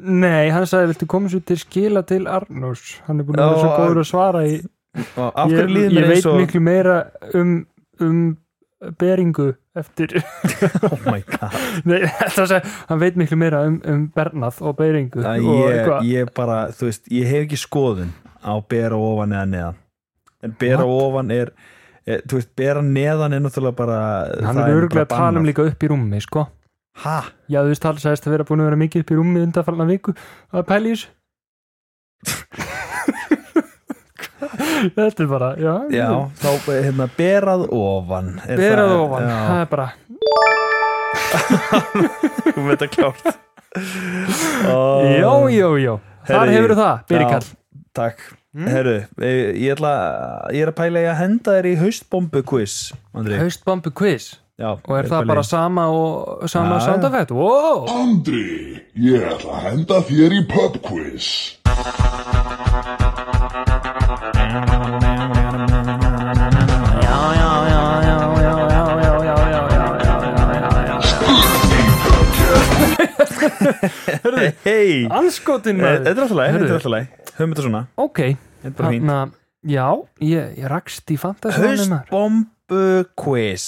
Nei, hann sagði, viltu koma svo til skila til Arnús? Hann er búin að vera
Já,
svo góður
hann-
að svara í,
og af
ég,
hverju líður
ég
mér
veit
eins og
miklu meira um, um beringu eftir
oh my god
Nei, þetta sagði, hann veit miklu meira um, um Bernað og beringu
Æ,
og
ég,
eitthvað
ég bara, þú veist, ég hef ekki skoðun á bera ofan eða neðan en bera ofan er er- þú veist, bera neðan er náttúrulega bara
Hann er
það bara
örgulega að tala um
bannað.
líka upp í rúmi, sko
ha,
Já, þú veist, hann sagðist að vera búin að vera mikið upp í rúmi undanfallna viku að pæla í þessu Þetta er bara, já
já, þá, hérna, berað ofan er
Berað
það-
ofan,
já.
það er bara
um þetta klárt oh,
Jó, jó, jó, þar
Herri,
hefur það, Hmm? Byrikall
Takk, herru, ég, ég, ætla, ég er að pæla ég að henda þér í haustbombu quiz Andri
haustbombu quiz
Já,
og er það bara sama og sama
Já,
sound
já.
effect wow.
Andri, ég ætla að henda þér í pub quiz.
Hei,
Anskotin
Eh, þetta er alltaf læg, þetta er
Heyrðu.
alltaf læg Höfum þetta svona,
Ok,
þetta er bara fín
þannig að Já, ég, ég rakst í fantasíunum maður.
Haustbombu quiz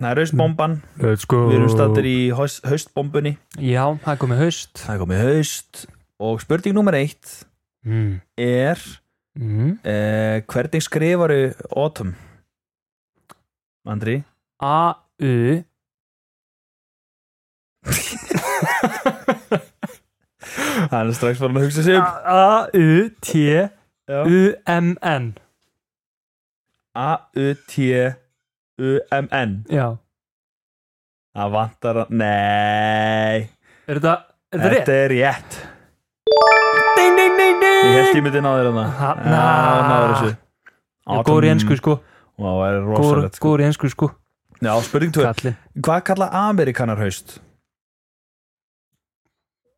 Það er haustbomban,
Let's go
við erum stattir í haust, haustbombunni
Já, það er komið haust
Það er komið haust og spurning nummer eitt
mm.
er
Mm.
uh, hvernig skrifaru autumn? Andri?
A-U
Hann er strax farin að hugsa sig upp Já.
A-U-T-U-M-N
A-U-T-U-M-N
Já,
Það vantar að... Nei
er þetta, er þetta rétt?
Þetta er rétt
Ding, ding, ding,
Ég
ding
held ég myndi náður hana
Þarna.
Já, náður þessu
Ég er góður í ensku sko
Vá, það er
Góður
rosalegt sko
góður í ensku sko
Já, spurning 2
Kallinn
Hvað kalla Amerikanar haust?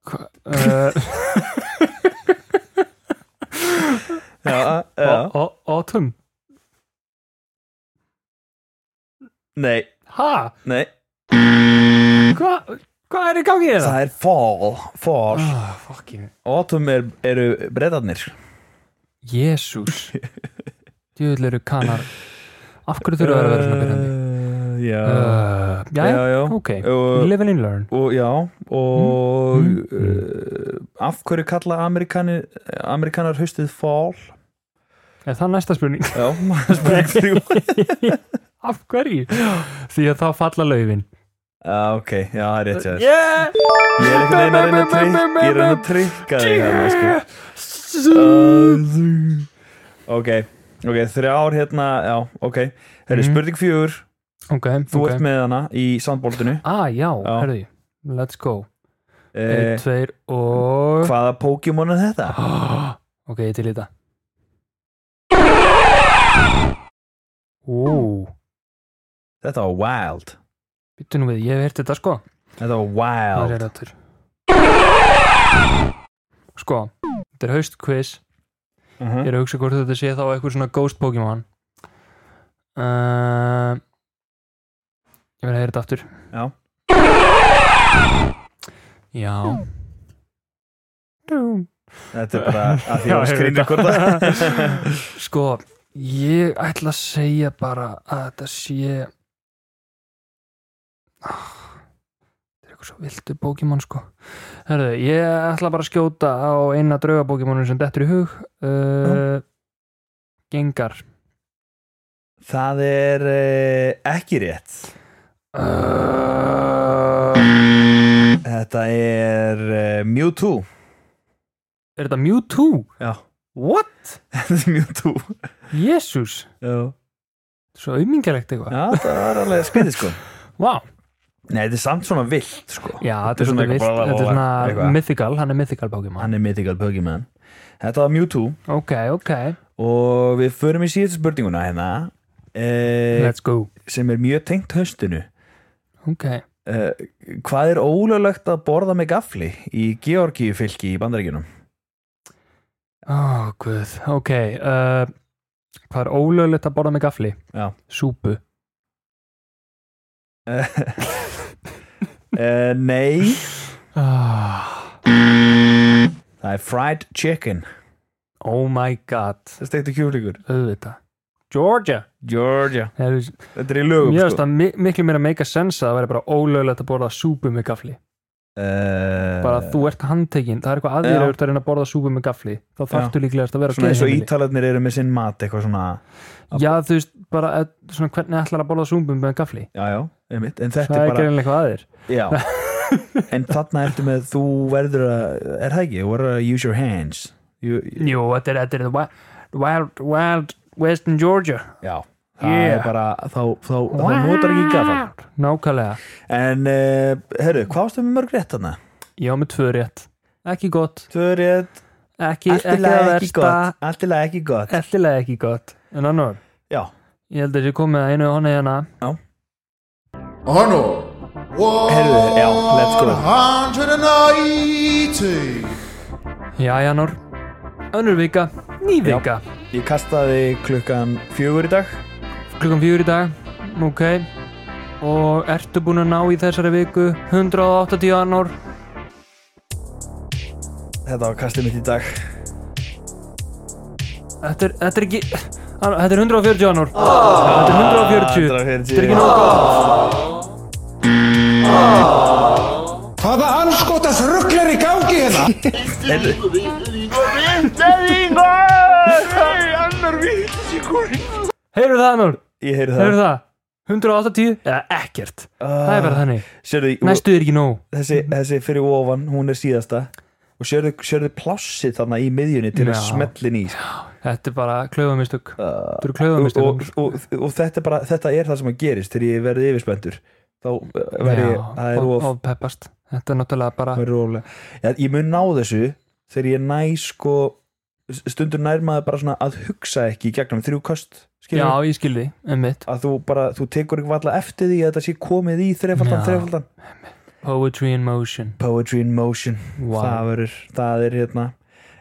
Uh,
Já,
ó- ó- Autumn
Nei,
Ha?
nei
Hvað hva er í gangi í það?
Það er fall Fall
Oh, fucking
Autumn er, eru breyðarnir
Jésús Djöðl eru kanar Af hverju þurfa að vera svona byrjandi?
Eh, Já
Uh, Jæja,
Já, já
ok
Og-
Live and learn
og já og
Mm.
uh, af hverju kalla Amerikanir Amerikanar haustið fall
Er það næsta spurning?
já, spurning þrjú
Af hverju? Því að þá falla laufin
já, ok, já, það er rétt sér
Yeah!
ég er einhvern veginn að reyna að trikk ég er að reyna að trikka þig hérna, sko. Um, ok, ok, þrjár hérna já, ok, það er
Mm.
spurning fjör
Ok,
þú
ok
ert með hana í sandbóltinu
Ah, já,
Já.
herðu ég Let's go Einn,
eh,
tveir og
hvaða Pokémon er þetta?
Ok, ég til í þetta Ó,
þetta var wild
býttu nú við, ég hef hert þetta sko
þetta var
Það er
wild
rættur Sko, þetta er haust quiz
uh
Ég er að hugsa hvort þetta sé þá eitthvað svona ghost Pokémon uh, Ég verið að heyra þetta aftur
Já.
Já Dúm.
þetta er bara að því
Já,
að
ég veit
skrýna hvort það
Sko, ég ætla að segja bara að þetta sé ah, Þetta er eitthvað svo vildur Pokémon sko Herðu, ég ætla bara að skjóta á eina drauga Pokémonu sem dettur í hug uh, Gengar
Það er eh, ekki rétt
Er
Þetta er eh, Mewtwo
þetta Mewtwo?
Já.
What?
Þetta er Mewtwo
Jesus
Já,
Svo aumingalegt eitthvað
það var alveg skriðið sko
Vá
Nei, þetta er samt svona vilt sko
Já, þetta er svona vilt
eitthvað
Þetta er svona
eitthvað.
mythical Hann er mythical Pokémon
Hann er mythical Pokémon Þetta var Mewtwo
Ok, ok
og við förum í síðustu spurninguna hérna eh,
Let's go
sem er mjög tengt höstinu
Ok
eh, Hvað er ólöglegt að borða með gafli í Georgíu fylki í bandaríkjunum?
Ó, guð Ok uh, Hvað er ólöglegt að borða með gafli?
Já.
Súpu
Eh, nei,
ah,
það er fried chicken
Oh my god
Það er stektu kjúflíkur
Auðvitað Georgia
Georgia
Mér
Þetta er í lögum
finnst
sko.
það mi- miklu meira make a sense að það væri bara ólöglegt að borða súpu með gafli
Eh,
bara þú ert handtekinn, það er eitthvað
Já.
aðeirur að reyna að borða súpu með gafli þá þarftu líklegast að vera á
Svona eins og
gleðiheimili.
ítalarnir eru með sinn mat eitthvað svona
já þú veist bara eh, svona, hvernig ætlar að borða súpu með gafli
Já, já, einmitt En þetta
það er
er bara
greinlega eitthvað aðeir
Já En þarna ertu með þú verður að Er það ekki? Þú verður að use your hands you,
jú þetta er, þetta er the wi- wild, wild western Georgia
Já Það
Yeah.
er bara Þá, þá, þá notar ekki gafan
nákvæmlega,
En, uh, herru, hvað varstu með mörg rétt þarna?
ég á með tvö rétt ekki gott,
Tvö rétt
ekki,
Allt í
ekki að
lagi ekki
versta
gott Allt í lagi ekki gott
eftirlega ekki gott en annar,
Já
ég held að ég kom með einu og hana hérna
Honor.
Heyrðu, já, let's go.
180.
já Janur, önnur vika Snýðinga
Ég kastaði klukkan fjögur í dag
Klukkan fjúr í dag Ok Og ertu búin að ná í þessari viku 180 janúar
Þetta var kastið mitt í dag
Þetta er, þetta er ekki Þetta er 140 janúar Þetta er 140
Þetta er
Þetta er ekki nóg gott Heyrðu það Anur
Ég heyri það Ah,
Heyrðu það 180 eða ekkert Það er bara Mhm. þannig
Sérðu,
Næstu er ekki nóg
þessi, þessi fyrir ofan, hún er síðasta og sérðu, sérðu plássið þarna í miðjunni til að
Já.
smellin í sko.
Þetta er bara klaufamistök Þetta eru
Ah. og,
klaufamistök
og, og, og þetta, er bara, þetta er það sem að gerist þegar ég verði yfirspendur þá uh, verði ég, það er of
Og peppast Þetta er náttúrulega bara
það er rólega. Já, ég mun ná þessu þegar ég næ sko stundur nær maður bara svona að hugsa ekki í gegnum þrjú köst
Já,
skilurðu?
ég skil því, emmitt
að þú bara, þú tekur ekki valla eftir því að þetta sé komið í þrefaldan,
Já.
þrefaldan
Poetry in motion
Poetry in motion
Wow
það, verður, það er hérna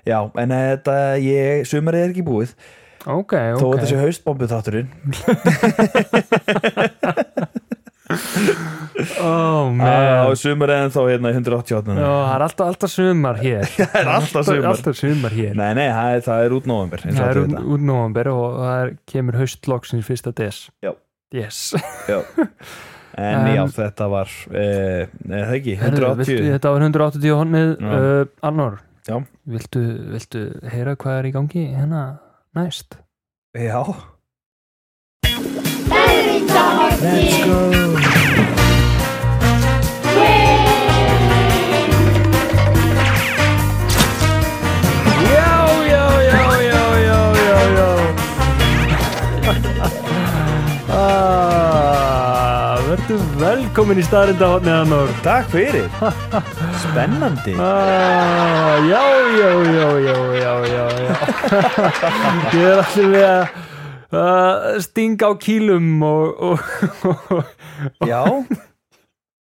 já, en þetta, ég, sumarið er ekki búið
Ok,
þó að
ok
þetta sé haustbombu þátturinn Ah,
Oh
á
man
sumarið þá hérna í 188
Ó, Það er alltaf, alltaf sumar hér Það
er alltaf sumar.
Alltaf sumar hér
nei, nei, það er, það er út nóvember eins og
Það er
allir
út,
vita.
út nóvamber og það er, kemur haustloksins fyrsta des
Já.
Yes
en já,
En-
þetta var eh, er það ekki,
Herðu, viltu,
180
Þetta var 180 honnið
Já.
uh, Annor,
Já.
viltu, viltu heyra hvað er í gangi hérna næst?
já,
Já, já, já, já, já, já, já ah, Verðu velkomin í staðrinda honnið Annor
takk fyrir spennandi
ah, Já, já, já, já, já, já, já Ég er allir við að Uh, stinga á kýlum og, og, og
já,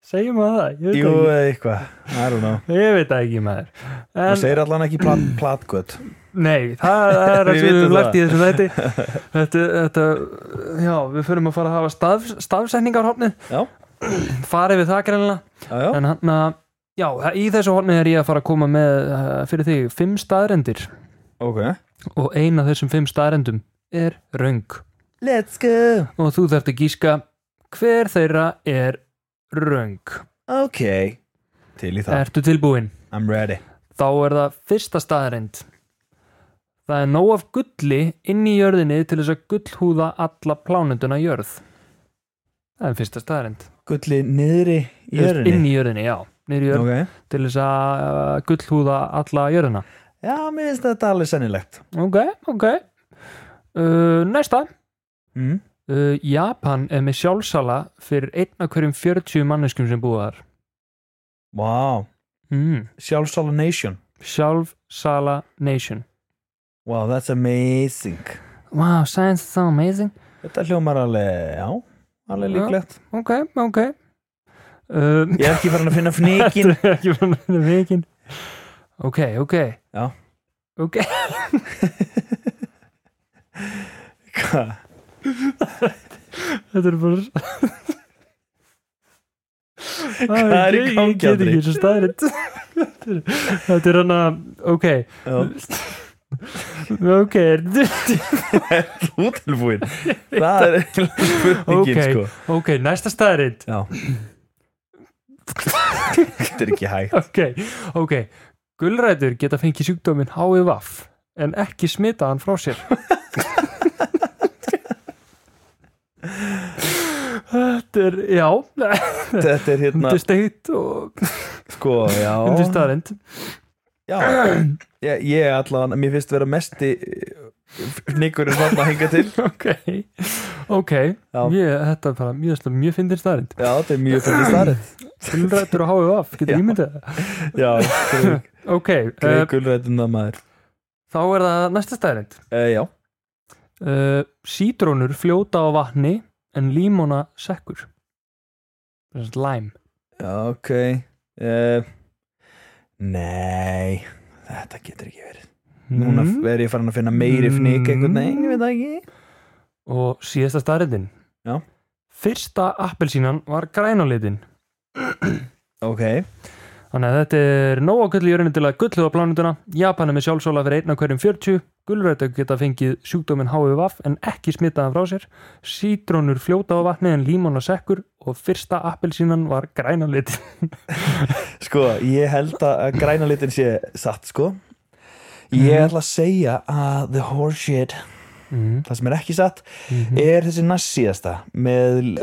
segjum að það ég veit
jú,
það ekki.
eða eitthvað I don't know
Ég veit það ekki maður
þú
en,
segir allan ekki plat, platgöt
Nei, það það er það sem
Við
við
vitum
höfum lagt í
það.
þessum þetta, þetta, þetta Já, við förum að fara að hafa staf, stafsetningarhornið
já,
farið við það greinlega
já, já,
en hann að, já, í þessu hornið er ég að fara að koma með eh, fyrir þig fimm staðrendir
ok
og eina af þessum fimm staðrendum er röng
let's go,
og þú þarft að gíska hver þeirra er röng
ok til í það,
Ertu tilbúin?
I'm ready
þá er það fyrsta staðarind það er nóg af gulli inn í jörðinni til þess að gullhúða alla plánunduna jörð það er fyrsta staðarind
gulli niðri
inn
í jörðinni
í jörðinni, já, niður í jörð
ok
til þess að uh, gullhúða alla jörðina
Já, mér finnst þetta alveg sennilegt
ok, ok uh, næsta
mm.
uh, Japan er með sjálfsala fyrir einn af hverjum 40 manneskum sem búa þar
Vá,
mm.
sjálfsála nation
sjálfsala nation
Wow, that's amazing
wow, science is so amazing
Þetta hljómar alveg, já Alveg
Já.
líklegt
ok, ok um,
Ég er ekki farin að finna fnikin
Þetta er ekki frá nefnum vikin ok, ok
Já.
ok,
Hvað?
þetta er bara
Hvað er í
Ég-
gangi,
ég get
Andri?
ekki þessu staðrind þetta er hann að ok,
Já,
ok
Þú tilbúin Það er eiginlega spurningin
Ok.
sko
ok, næsta staðrind
Já Þetta er ekki hægt
ok, ok gulrætur geta fengið sjúkdóminn HIV en ekki smita hann frá sér þetta er, já
Þetta er hérna,
þetta er steikt og
sko, já
þetta er staðrind
Já, ég, ég allan Mér finnst vera mesti Fnikurinn þarna að hinga til
ok, ok
Já.
ég, þetta er bara mjög, þetta er mjög fyndir staðrind
Já, þetta er mjög fyrir starrið
tilrættur og háið af,
Já.
getur ímyndið það
Já,
ok, uh,
greikulrætuna maður
þá er það næsta staðrind
uh, Já,
uh, sítrónur fljóta á vatni en límóna sekkur þess að læm
já, ok Eh, uh, Nei Þetta getur ekki verið núna
Mhm.
er ég farin að finna meiri fnik einhvern veginn, ég veit það ekki
og síðasta staðrindin
Já.
fyrsta appelsínan var grænulitin
ok,
þannig að þetta er nóg gull í jörðinu til að gullu á plánunduna Japan er með sjálfsóla fyrir einn af hverjum 40 gulrættu geta fengið sjúkdómin HVV en ekki smitaðan frá sér sítrónur fljóta á vatni en límón og sekkur og fyrsta appelsínan var grænulitin
sko, ég held að græna litin sé satt, sko ég ætla að segja að the horseshit það sem er ekki satt er þessi næst síðasta með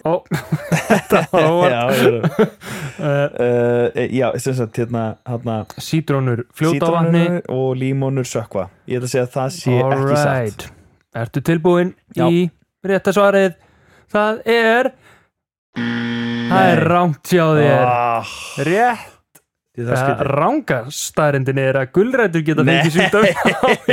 og þetta var
já, já, já. uh, já, sem sagt hérna, hérna
sítrónur fljóta á vatni
sítrónur og límónur sökva ég ætla að segja að það sé ekki satt
Ertu tilbúin
Já.
í rétta svarið? Það er Það er rangt hjá þér
ah,
Rétt
ég þarf að
Það
skilja.
ranga starrendin er að gulrætur geta
Nei.
fengið sjúkdóm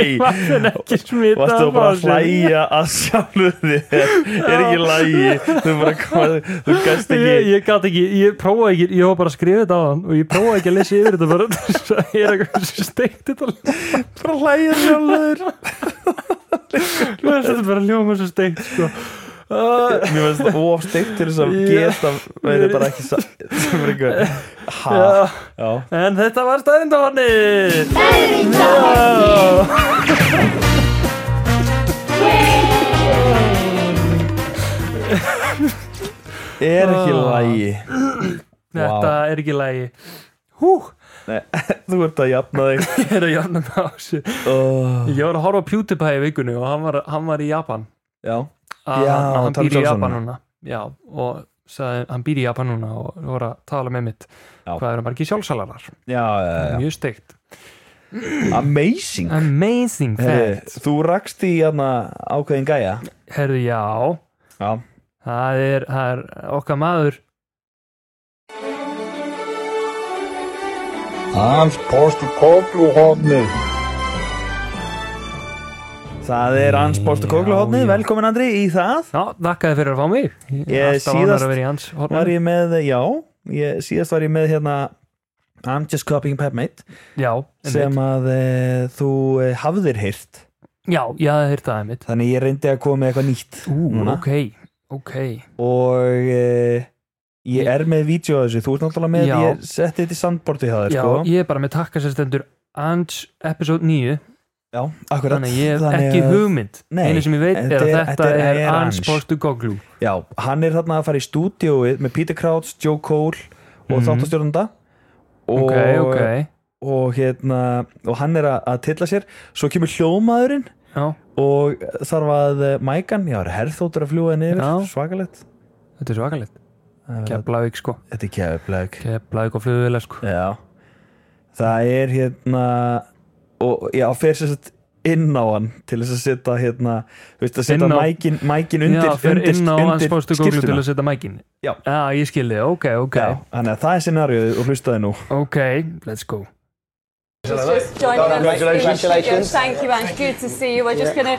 en ekki smita
Varstu
af
bara að
sér.
hlæja að sjálfu þér Er ekki lægi Þú bara komið, þú gæst
Ég,
ekki
ég gat ekki, ég prófaði ekki, ég var bara að skrifa þetta á hann og ég prófaði ekki að lesa yfir þetta bara það er eitthvað sem steikt þetta
Bara að hlæja sjálfu þér
Mér finnst þetta bara ljóma sem steikt sko.
Mér finnst það ofsteikt til þess að
Ég-
geta Það er bara ekki satt Það er bara eitthvað Ha Já
En þetta var staðrindahornið
Er ekki lægi
Þetta er ekki lægi Hú,
Þú ert að jafna þig
ég er að jafna mig á þessu
oh,
Ég var að horfa á PewDiePie í vikunni og hann var, hann var í Japan
Já
A,
Já,
hann, hann
tala
býr í
um
Japan
Samsung.
núna Já, og sagði, hann býr í Japan núna og voru að tala með mitt
Já.
hvað eru margir sjálfsalarar
Já, já, já
mjög steikt
Amazing
Amazing
Heyrðu,
fact
Þú rakst í hérna ákveðin gæja
Herðu, já,
Já
það er, það er okkar maður
Það er hans Bort og Kókluhotni,
Já, já.
velkomin Andri í það
Já, þakkaði fyrir að fá mig Ég
Ég
er alltaf
síðast
annar að vera í hans
Var
hornum
ég með, já, ég, síðast var ég með hérna I'm just copying Pepmate
Já,
sem
einmitt.
að e, þú e, hafðir heyrt
já, ég hafði hýrt það einmitt
þannig ég reyndi að koma með eitthvað nýtt
Ú,
núna.
ok, ok
og e, ég er með vídeo að þessu, þú ert náttúrulega með
Já.
ég setti þetta í sandbortið það
Já,
sko.
ég er bara með takka sér stendur Ange episode 9
já, akkurat
Þannig að ég hef ekki
að-
hugmynd
Nei,
Einu sem ég veit
þetta
er að
er-
þetta
þetta
er
er
Ange
Ange.
Postugoglu
Já, hann er þarna að fara í stúdíóið með Peter Crouch, Joe Cole og mm. þáttastjórnanda og,
Mhm. Ok, ok
og hérna og hann er að, að tilla sér svo kemur hljómaðurinn
Já,
og þarf að eh, mækan, já, er herþóttur að fljúa niður,
Já.
svakalegt
þetta er svakalegt Keflavík sko
þetta er keflag
Keflavík og flugvila sko
já. það er hérna og já, fer sér sett inn á hann til þess að setja hérna veist, að setja
Inn á-
mækin, mækin
Já,
undir,
fyrir
undir,
inn á Ange
undir
Postugoglu til að setja mækin
Já.
Já, ég skilði, ok, ok
Já, þannig að það er scenarioð og hlustaði nú
Ok, let's go
Congratulations. Thank you, Ange. Good to see you. We're just going to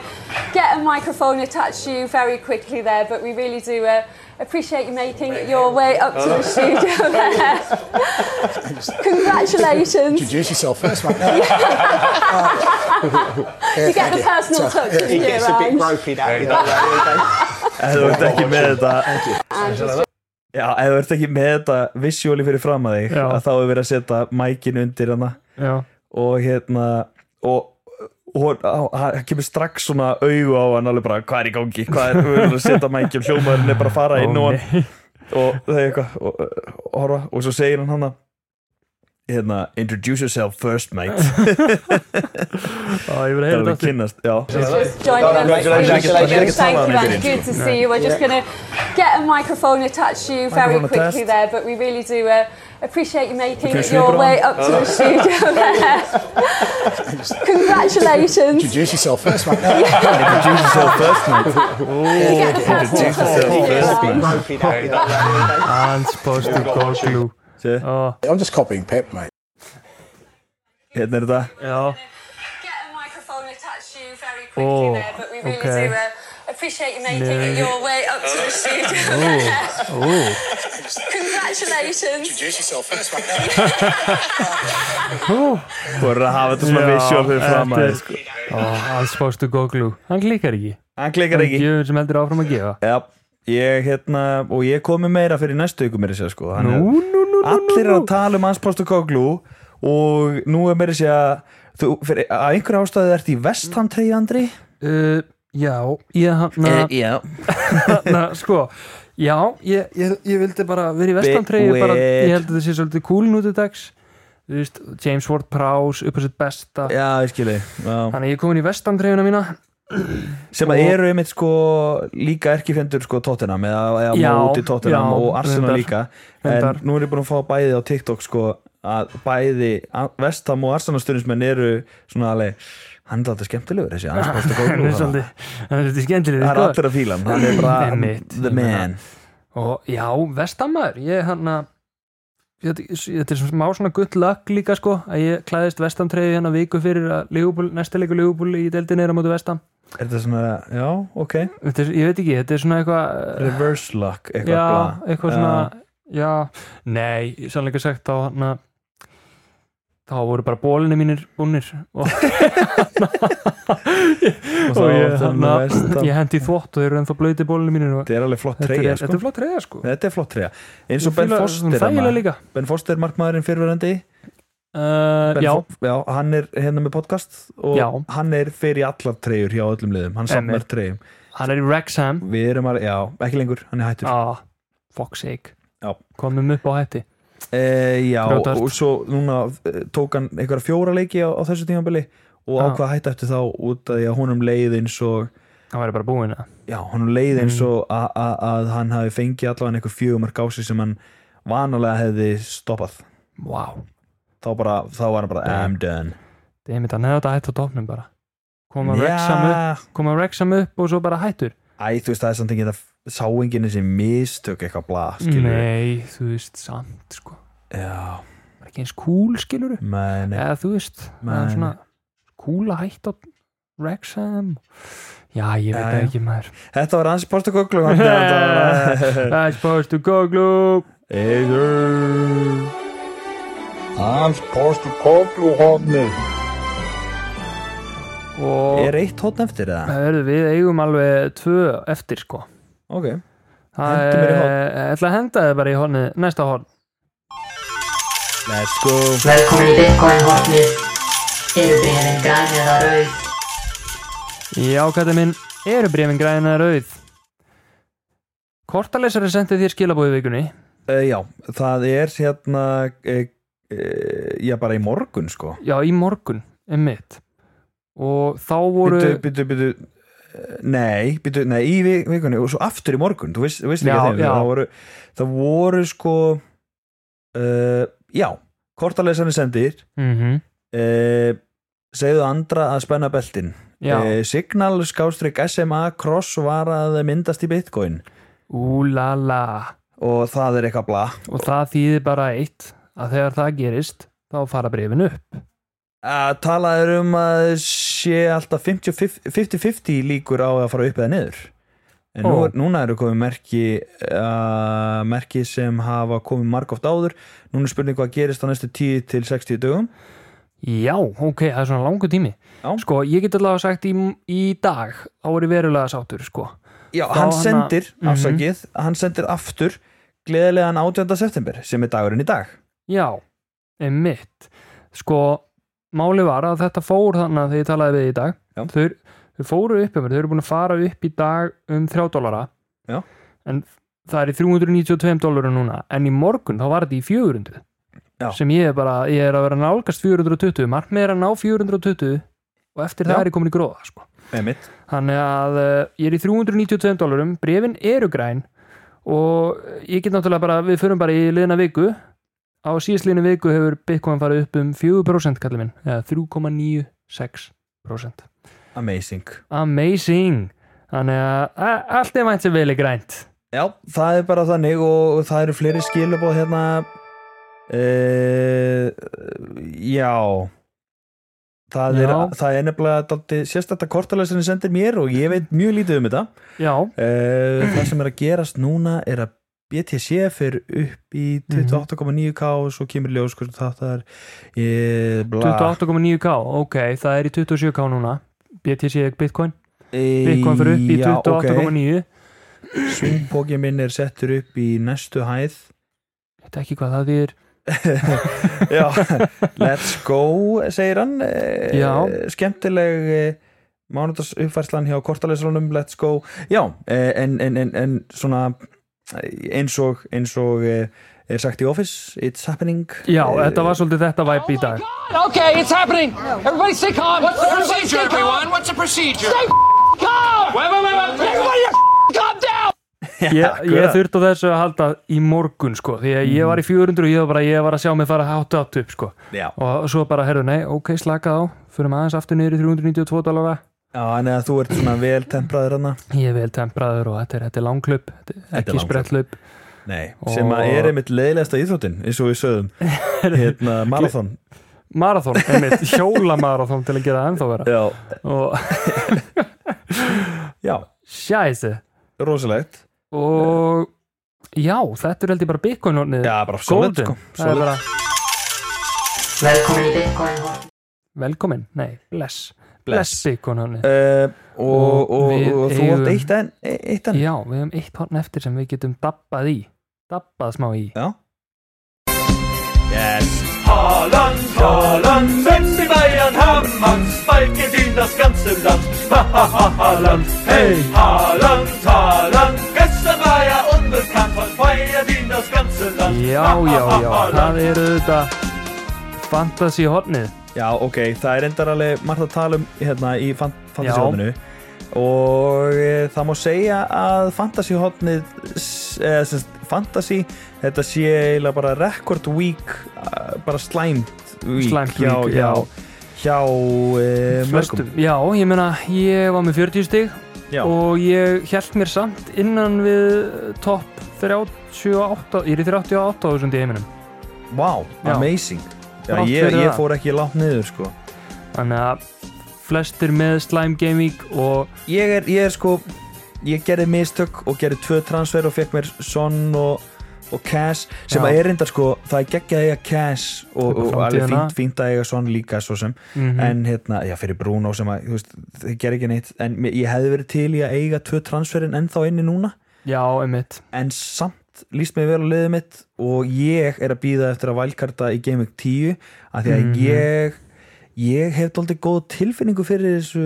get a microphone attached to you very quickly there, but we really do uh, appreciate you making your way up to the studio there. Congratulations. Introduce yourself first, right? Uh, you get the personal touch, didn't you, Ange?
ef þú ert ekki með þetta Já, ef þú ert ekki með þetta visjóli fyrir fram að þig
Já.
að þá er verið að setja mækin undir hana
Já,
og hérna og og hann- hann kemur strax svona augu á hann alveg bara hvað er í gangi hvað er, við erum að setja mækjum hljómaðurinn er bara að fara inn
Ó,
og, hann, og það er eitthvað og, og, horfa, og svo segir hann hann að hérna, introduce yourself first mate það
Á, ég verið að heyra
er alveg
þetta
kynnast já,
Just joining us.
Congratulations.
Thank you, Ange. Good to see you. We're just going to get a microphone attached to you very
Microphone
quickly
attached.
there, but we really do uh, appreciate you making
Okay,
your
Siobhan.
way up
Oh.
to the studio there. Congratulations.
introduce yourself first mate
You get the personal
introduce
touch.
yourself first mate
Ange Postugoglu
Sér,
Ó,
hérna er þetta
Já,
Get a microphone attached to you very quickly
Oh,
there, but we really
okay.
do uh, appreciate you making
Yeah.
your way up to the
ó,
studio
ó
Congratulations. Congratulations.
voru að hafa þetta svona visual fyrir fram að sko.
Alls fórstu goglu Hann klikkar ekki
hann klikkar
Hann
ekki
gefur sem heldur áfram að gefa
Já, ég hérna og ég komi meira fyrir næstu ykkur meira sér sko Hann
Nú,
er-
nú, nú, nú,
allir er að tala um hans postukoglu og nú er meira sér að þú, fyrir, að einhverja ástæði ert í vestham treyja Andri
uh, Já, ég hann
Eh, já
Na, sko, já, ég, ég, ég vildi bara vera í vestantreiði, bara, ég held að það sé svolítið cool nú til dags Þú veist, James Ward Prowse, upp á sitt besta
já, ég skilji já.
þannig að ég er komin í vestantreiðuna mína
sem að eru einmitt sko líka erkifjendur sko Tottenham eða, eða
Já,
móti Tottenham
já,
og Arsenal
reyndar,
líka en
reyndar.
nú er ég búin að fá bæði á TikTok sko að bæði vestham og Arsenal stundismenn eru svona alveg hann er alltaf skemmtilegur þessi hans
það
postukoglu
er svolítið, það er svolítið sko. skemmtileg
það er allir að fíla hann hann er bara
Einmitt.
the man
og já, vestamæður ég hann að ég- þetta er svona smá svona gutt luck líka sko að ég klæðist vestantreiði hérna viku fyrir að Ligubúl, næsta leiku Ligubúl í deildinni er á móti vestam
er þetta svona, já, ok
þetta er, ég veit ekki, þetta er svona eitthvað eh,
reverse luck, eitthvað
já,
bla.
eitthvað svona já, nei, sannleika sagt þá hann þá voru bara bólinni mínir búnir og,
og
og
þá
ég,
er
hana,
það vestan
ég hendi í þvott og þeir eru ennþá blöyti bólinni mínir og,
þetta er alveg flott
þetta,
treyja,
er, þetta
sko
er flott treyja sko
þetta er flott treyja, eins
Ég
og Ben
fíla-
Foster
svona
er
þægilega
maður-
líka
Ben Foster markmaðurinn fyrirverandi
uh,
ben
já,
Fo- já, hann er hérna með podcast og
Já.
hann er fyrir allar treyjur hjá öllum liðum, hann samlar
Einmitt.
treyjum
hann er í Wrexham
við erum að, já, ekki lengur, hann er hættur
ah, fuck's sake
Já.
komum upp á hætti
e, já,
Grjótart.
og svo núna eh, tók hann einhverja fjóra leiki á, á þessu tímabili og
Já.
ákvað að hætta eftir þá út af því að honum leið eins og
hann væri bara búinn að
já, honum leið eins og a- a- að hann hafi fengið allavega einhver fjögumar gási sem hann vanalega hefði stoppað
wow,
þá, bara, þá var hann bara I'm done
demit, hann hefði þetta hætt á topnum bara koma Wrexham upp koma Wrexham upp og svo bara hættur
Æ, þú veist það er samt ekki það sá enginn þessi mistök eitthvað bla skilur
nei, þú veist, samt sko
Já,
bara ekki eins cool skilur
menn
eða þú veist það
Nei,
er svona cool að hætta á Wrexham já ég veit
Já,
það
já.
ekki maður
Þetta var hans postakoklu
that's supposed to go glue
Eiður
og
Er eitt hótt eftir eða?
Hörðu, við eigum alveg tvö eftir sko
Ok,
það
Hentu mér í
er
horn.
ég ætla að henda þið bara í horni næsta horn
let's go
Velkomin í Bitcoin-hotnið. Eru brefin græn eða rauð?
já kæti minn eru brefin græna rauð kortalesari sendi þér skilabóðu vikunni
uh, Já, það er hérna uh, uh, Já, bara í morgun sko
já í morgun um mitt og þá voru
Byttu, byttu, byttu Nei, byttu, nei, í vi- vikunni og svo aftur í morgun, þú veist, þú veist ekki
Já,
að þeim
já.
það voru, það voru sko uh, já kortalesanir sendir
Mhm,
uh, segðu andra að spenna beltin
já
Eh, Signal skástrík SMA cross var að myndast í bitcoin
Úlala
og það er eitthvað bla
og það þýðir bara eitt að þegar það gerist þá fara brefin upp
að talaður um að sé alltaf 50-50 50-50 líkur á að fara upp eða niður en nú,
Ó.
er- núna eru komið merki uh, merki sem hafa komið margóft áður núna er spurning hvað gerist á næstu 10 til 60 dögum
Já, ok, það er svona langu tími
Já.
Sko, ég get allavega sagt í, í dag þá er ég verulega sáttur, sko
Já,
Þá
hann
hana-
sendir,
Mhm.
afsakið hann sendir aftur gleðilegan 18. september sem er dagurinn í dag
Já, einmitt Sko, máli var að þetta fór þannig að þegar ég talaði við í dag
Já.
þau, þau fóru upp um þau eru búin að fara upp í dag um 3 dólara
Já.
En það er í 392 dólarum núna en í morgun þá var þetta í 400
Já.
sem ég er bara, ég er að vera að nálgast 420, markmið er að ná 420 og eftir
Já.
það er ég komin í gróða sko.
með mitt
þannig að eh, ég er í 392 dólarum brefin eru græn og ég get náttúrulega bara, við förum bara í liðna viku á síðsliðinu viku hefur Bitcoin farið upp um 4% kallið minn, eða 3,96%
Amazing
Amazing þannig að a- allt er vænt sem vel er grænt
Já, það er bara þannig og það eru fleiri skilabóð hérna uh, Já Það er,
Já.
það er nefnilega dálítið sérstakta kortalæsirinn sendir mér og ég veit mjög lítið um þetta
já,
uh, Það sem er að gerast núna er að BTC fyrir upp í
Mhm.
28,9k og svo kemur ljós hvort þetta er e, bla,
28,9k, ok, það er í 27k núna BTC Bitcoin Bitcoin fyrir upp í
Já, ok.
28,9
Svingpókin minn er settur upp í næstu hæð
Þetta er ekki hvað það er
Já, let's go segir hann Eh,
Já.
skemmtileg mánudags uppfærslan hjá kortalesurunum let's go, já eh, en, en, en, en svona eh, eins og, eins og eh, er sagt í Office, it's happening
Já, þetta var svolítið þetta væp í dag
Okay, it's happening. Everybody stay calm. What's the Everybody stay
Procedure,
calm.
everyone. What's the procedure?
Stay calm.
Wait, wait, wait, wait.
Everybody calm down.
Ég, ég þurfti á þessu að halda í morgun sko, því að ég
Mm.
var í 400 og ég var bara ég var að sjá mig fara hátt átt upp sko.
Já.
og svo bara, herru, nei, ok, slakað á fyrir aðeins aftur niður í 392 dólara
Já, en eða þú ert svona vel tempraður hana
ég er vel tempraður og þetta er, þetta er langklöp þetta er ekki
langhlaup.
sprettlöp
Nei,
Og-
sem að er einmitt leiðilegasta íþróttin eins og við sögðum hérna marathon
marathón, einmitt, hjólamarathón til að gera það ennþá vera
Já,
og
já
sjæði
rosalegt
og já, þetta er held ég bara bitcoin ornið
Já, bara solid,
golden,
sko.
það er bara
Velkomin í Bitcoin Hot
velkomin, nei, bless bless,
Bless.
bitcoin ornið
uh, og, og, og,
Við
þú
eigum-
átt eitt enn eitt enn
já, við hefum eitt horn eftir sem við getum dabbað í dabbað smá í
Já Yes Haaland, Haaland, wenn die Bayern haben Angst, bald geht ihnen das ganze Land. Ha, ha, ha, Haaland, hey. Haaland, Haaland, gestern war er unbekannt, von feiert ihn das ganze Land.
já, já, já, það eru þetta fantasy hornið
Já, ok, það er endar alveg margt að tala um hérna í fan- fantasíhotninu og e, það má segja að fantasíhotnið eða sem sagt fantasí þetta sé eiginlega bara record week eh, bara slæmt week
Slæmt
hjá,
week,
hjá,
já.
hjá e, mörgum
Flestum, já, ég meina, ég var með 40 stig
já,
og ég held mér samt innan við topp 38, ég er í 38.000 í heiminum
wow,
Já.
amazing já,
Þrátt
ég,
fyrir
ég
það.
fór ekki langt niður sko
þannig að flestir með Slime Gaming og
ég er, ég er sko ég gerði mistök og gerði tvö transfer og fekk mér Son og, og Cash sem
Já.
að er reyndar sko, það er geggjað að eiga Cash og,
Upp á
og alveg
framtíðina. Mm.
fínt, fínt að eiga Son líka svo sem en hérna, já fyrir Bruno sem að, þú veist, þið gerir ekki neitt en mér- ég hefði verið til í að eiga tvö transferin ennþá inni núna,
já, einmitt
en samt líst mér vel á liðið mitt og ég er að býða eftir að valkarta í Game Week 10 af því að
Mhm.
ég ég hef doldið góð tilfinningu fyrir þessu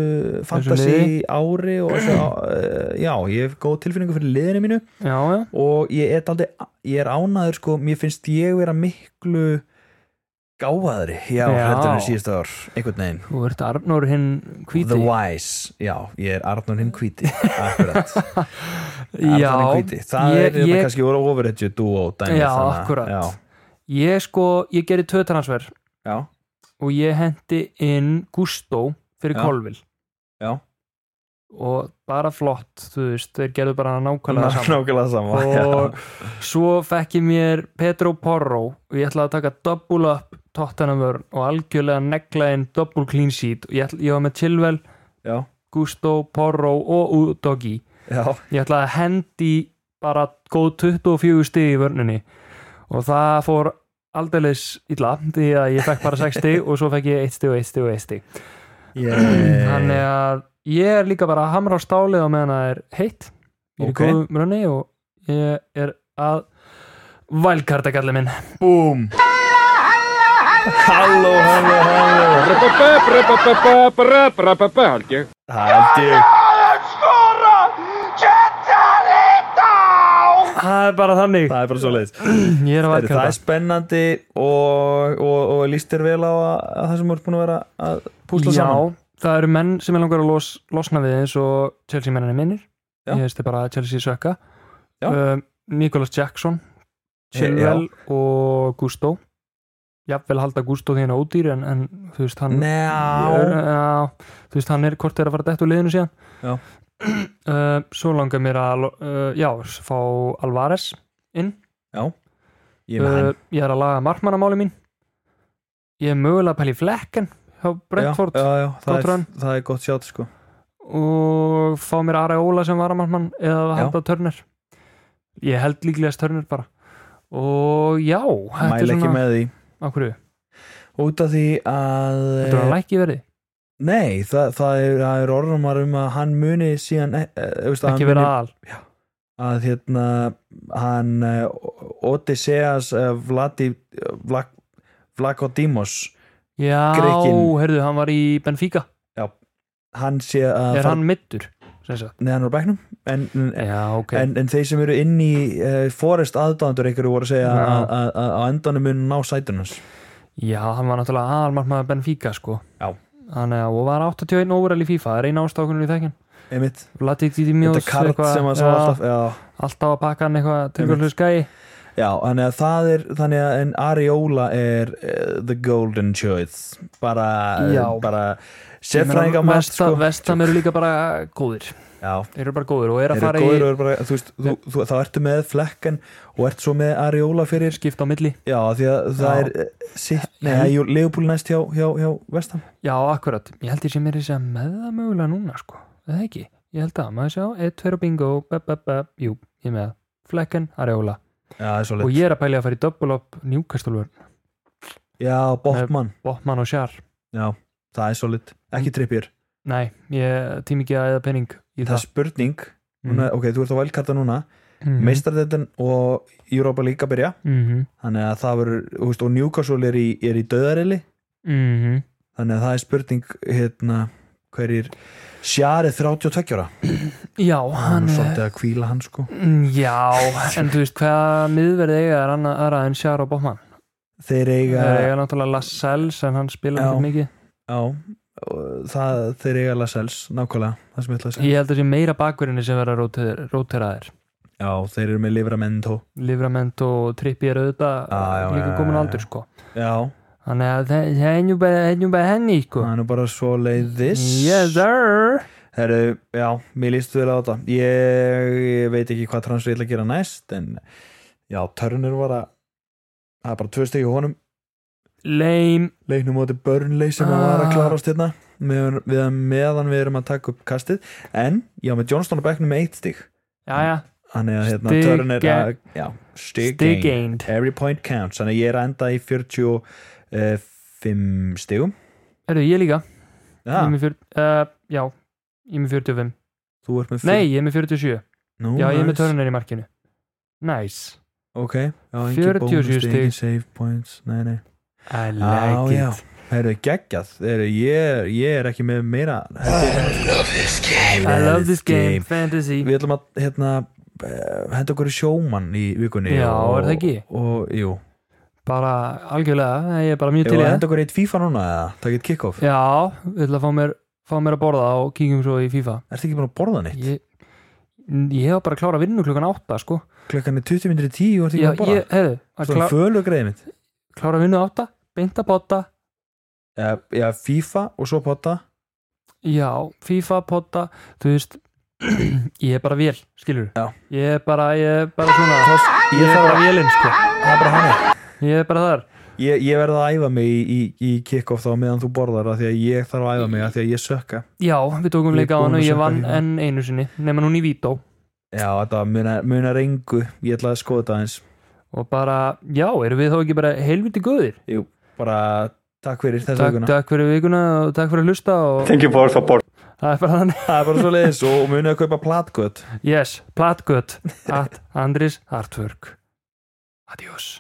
fantasi
liði?
ári og þessu, á- eh, já, ég hef góð tilfinningu fyrir liðinu mínu
já, já,
og ég er doldið, ég er ánaður sko, mér finnst ég vera miklu gáfaðri, já,
Já.
heldur en síðust ár einhvern veginn,
þú ert Arnór hinn
the
hvíti
wise já, ég er Arnur hinn hvíti akkurat,
já,
Arnur hinn hvíti það
ég,
er hérna
ég,
kannski voru overhedju duo dæmi
Já,
þannig að-
akkúrat.
já,
ég sko, ég gerði tvö transfer
já,
og ég hendi inn Gusto fyrir
Já.
Kolvil
Já.
og bara flott, þú veist, þeir gerðu bara nákvæmlega saman
nákvæmlega sama já.
og svo fekk ég mér Pedro Porro og ég ætlaði að taka double up Tottenham vörn og algjörlega negla inn double clean sheet og ég, ætla, ég var með Chilwell,
já,
Gusto, Porro og Udogi
já,
ég ætlaði að hendi bara góð 24 stig í vörninni og það fór aldeilis illa því að ég fekk bara 6 stig og svo fekk ég 1 stig og 1 stig og 1 stig þannig að ég er líka bara að hamra á stálið á meðan það er heitt ég er
Ok.
í góðum rönni og ég er að valkarta kallið minn
búm halló, halló, halló held ég
það er bara þannig,
það er bara svo leiðis
ég er að
Heyrðu, Það
valkarta
er spennandi og, og, og líst þér vel á að, að það sem þú ert búin að vera að púsla
Já,
saman
það eru menn sem ég langar að los, losna við eins og Chelsea menninni minnir
Já.
ég veist þið bara að Chelsea sökka
Já.
um, Nicholas Jackson
He-
Chilwell og Gusto jafnvel halda Gusto því hann ódýr en, en þú veist hann er, uh,
Njá
já, þú veist hann er hvort er að fara dætt úr liðinu síðan
Já.
Uh, svo langar mér að lo- uh, já, s- fá Alvarez inn
Ég er með
uh,
hann
ég er að laga markmannamáli mín ég er mögulega að pæli flekken hjá Brentford
Já, já, já, það,
Gott
er,
run.
það er gott sjátt sko
og fá mér Ari Óla sem varamann eða
Já.
halda törnir ég held líklega störnur bara og já, þetta
mæla ekki með því
á hverju,
út af því að eh,
þetta var að lækki verði
nei, það, það er, það er orðumar um að hann muni síðan e, e, e, veist, að
ekki
hann muni
verið aðal
að hérna hann eh, Odysseas eh, Vladi Vlak, Vlakodimos
já,
Grikkinn.
heyrðu, hann var í Benfica
hann sé að
er hann middur sem sagt.
neðan á bæknum en, en,
já, ok,
en, en þeir sem eru inn í uh, Forest aðdáðandur einhverju voru að segja
Já.
að- að að á endanum mun ná sætunus
já, hann var náttúrulega aðalmarkmaður Benfica sko
Já.
Hann, eh, og var 81 óverall í FIFA, það er eina ástákunum í þekkin
einmitt,
Vladi Didi
þetta
Mjós
kart sem að sá alltaf já,
alltaf að pakka hann eitthvað tilgjörlu skæi
já, þannig að það er þannig að en Ariola er uh, the golden choice bara, eh,
Já.
bara sérfræðinga mat
vestam,
sko.
vestam eru líka bara góðir
já,
þeir eru bara góðir og er að
eru
fara
góður og eru bara, þú veist, þú, þú, þá ertu með flekken og ert svo með Ariola fyrir
í skipta á milli
já, því að það
Já.
er eh, sitt, nei, jú, Leopold næst hjá, hjá, hjá Vestam
já, akkurat, ég held ég sem er þess að með það mögulega núna sko, eða ekki ég held að, maður sjá, 1, 2 og bingo be, be, be, jú, ég er með það, flekken, areola
já, það er svo
og ég er að pæli að fara í double up njúkastulvör,
já, Botman,
Botman og Sjar
já, það er svo
Mm.
ekki trippir
nei, ég tím ekki að eða penning í
það
það,
er spurning núna, ok, þú ert á vælkarta núna
mm.
mm. meistardettin og Europa líka byrja
Mhm.
þannig að það verður, þú veist, og Newcastle er í, er í döðarili
Mhm.
þannig að það er spurning hérna, hverjir Sjar er 32 ára
já,
hann
hann er
er svolítið að kvíla hann sko
Mm, Já, en þú veist hvaða miðverð eiga er annað aðra en Sjár og Bóman
þeir eiga,
Það eiga náttúrulega Lascelles en hann spila
Já.
ekki mikið
Já, og það, þeir eiga Lascelles nákvæmlega, það sem ég ætla að segja
Ég held að sé meira bakverðinni sem verða róter- róteraðir
já, þeir eru með Livramento
Livrament og Trippi eru auðvitað
Ah, Já, já,
líka
já,
komin
já,
á
já.
aldur sko
já,
Þannig að það það er nú bara, það er nú bara henni sko
það er nú bara svo leiðis
Yes sir
Herru, já, mér líst vel á þetta ég, ég veit ekki hvað transfer ég ætla að gera næst en já, Turner var að það er bara tvö stegi honum
Lame
leiknum móti Burnley sem að var
Ah.
að klárast hérna með, við að meðan við erum að taka upp kastið en já, með Johnston á bekknum með eitt stig
Jæja,
hann er að hérna
Stig-
Turner að, já, stig,
stig
gained.
gained
every point counts, þannig að ég er að enda í 45 stigum
Herru, ég líka
já,
ég er með fjör, uh, Já, ég er með 45
þú ert með
Nei, ég er með 47
Nú,
Já, ég er með
nice.
törnir í markinu Nice
ok, já, engin
47
bónus,
stig.
engin save points nei, nei
I
Ah, Já,
like
já.
it
Herru, geggjað, Heru, ég, ég er ekki með meira Heru,
I love this game,
game.
fantasy
Við ætlum að hérna, eh, henda okkur í sjómann í vikunni
Já,
og,
er það ekki?
Og, jú,
bara algjörlega, ég er bara mjög
Jú,
til í það
henda okkur eitt FIFA núna eða, takk eitt kickoff
já, ég ætla að fá mér, fá mér að borða og kíkjum svo í FIFA
Ertu ekki búin að borða neitt?
ég, ég hef bara klárað vinnu klukkan átta sko.
Klukkan er 20 minnir í 10 og ertu ekki
já,
búin að borða?
ég, hefðu, að
Svo
klá,
er fölugreið mitt
klára vinnu átta beint að potta,
já, já, FIFA og svo potta
já, FIFA potta, þú veist ég er bara vél, skilur
Já.
ég er bara, ég er bara svona ég,
ég
er
þarf
bara vélinn, sko
Það er bara hann
ég er bara þar,
Ég, ég verði að æfa mig í, í, í kickoff þá meðan þú borðar af því að ég þarf að æfa mig af því að ég sökka
já, við tókum
Ég er
leika á
búinn
hann og
að
ég
sökka
vann
líka.
enn einu sinni nema núna í Vító
Já, þetta munar, munar engu Ég ætla að skoða þetta aðeins
og bara, já, erum við þá ekki bara helviti góðir
Jú, bara takk fyrir þessa
takk,
vikuna
takk fyrir vikuna og takk fyrir að hlusta og
Thank you for support.
það er bara þannig
Það er bara svo leiðis og munið að kaupa platgöt
yes, platgött at Andris Artwork adios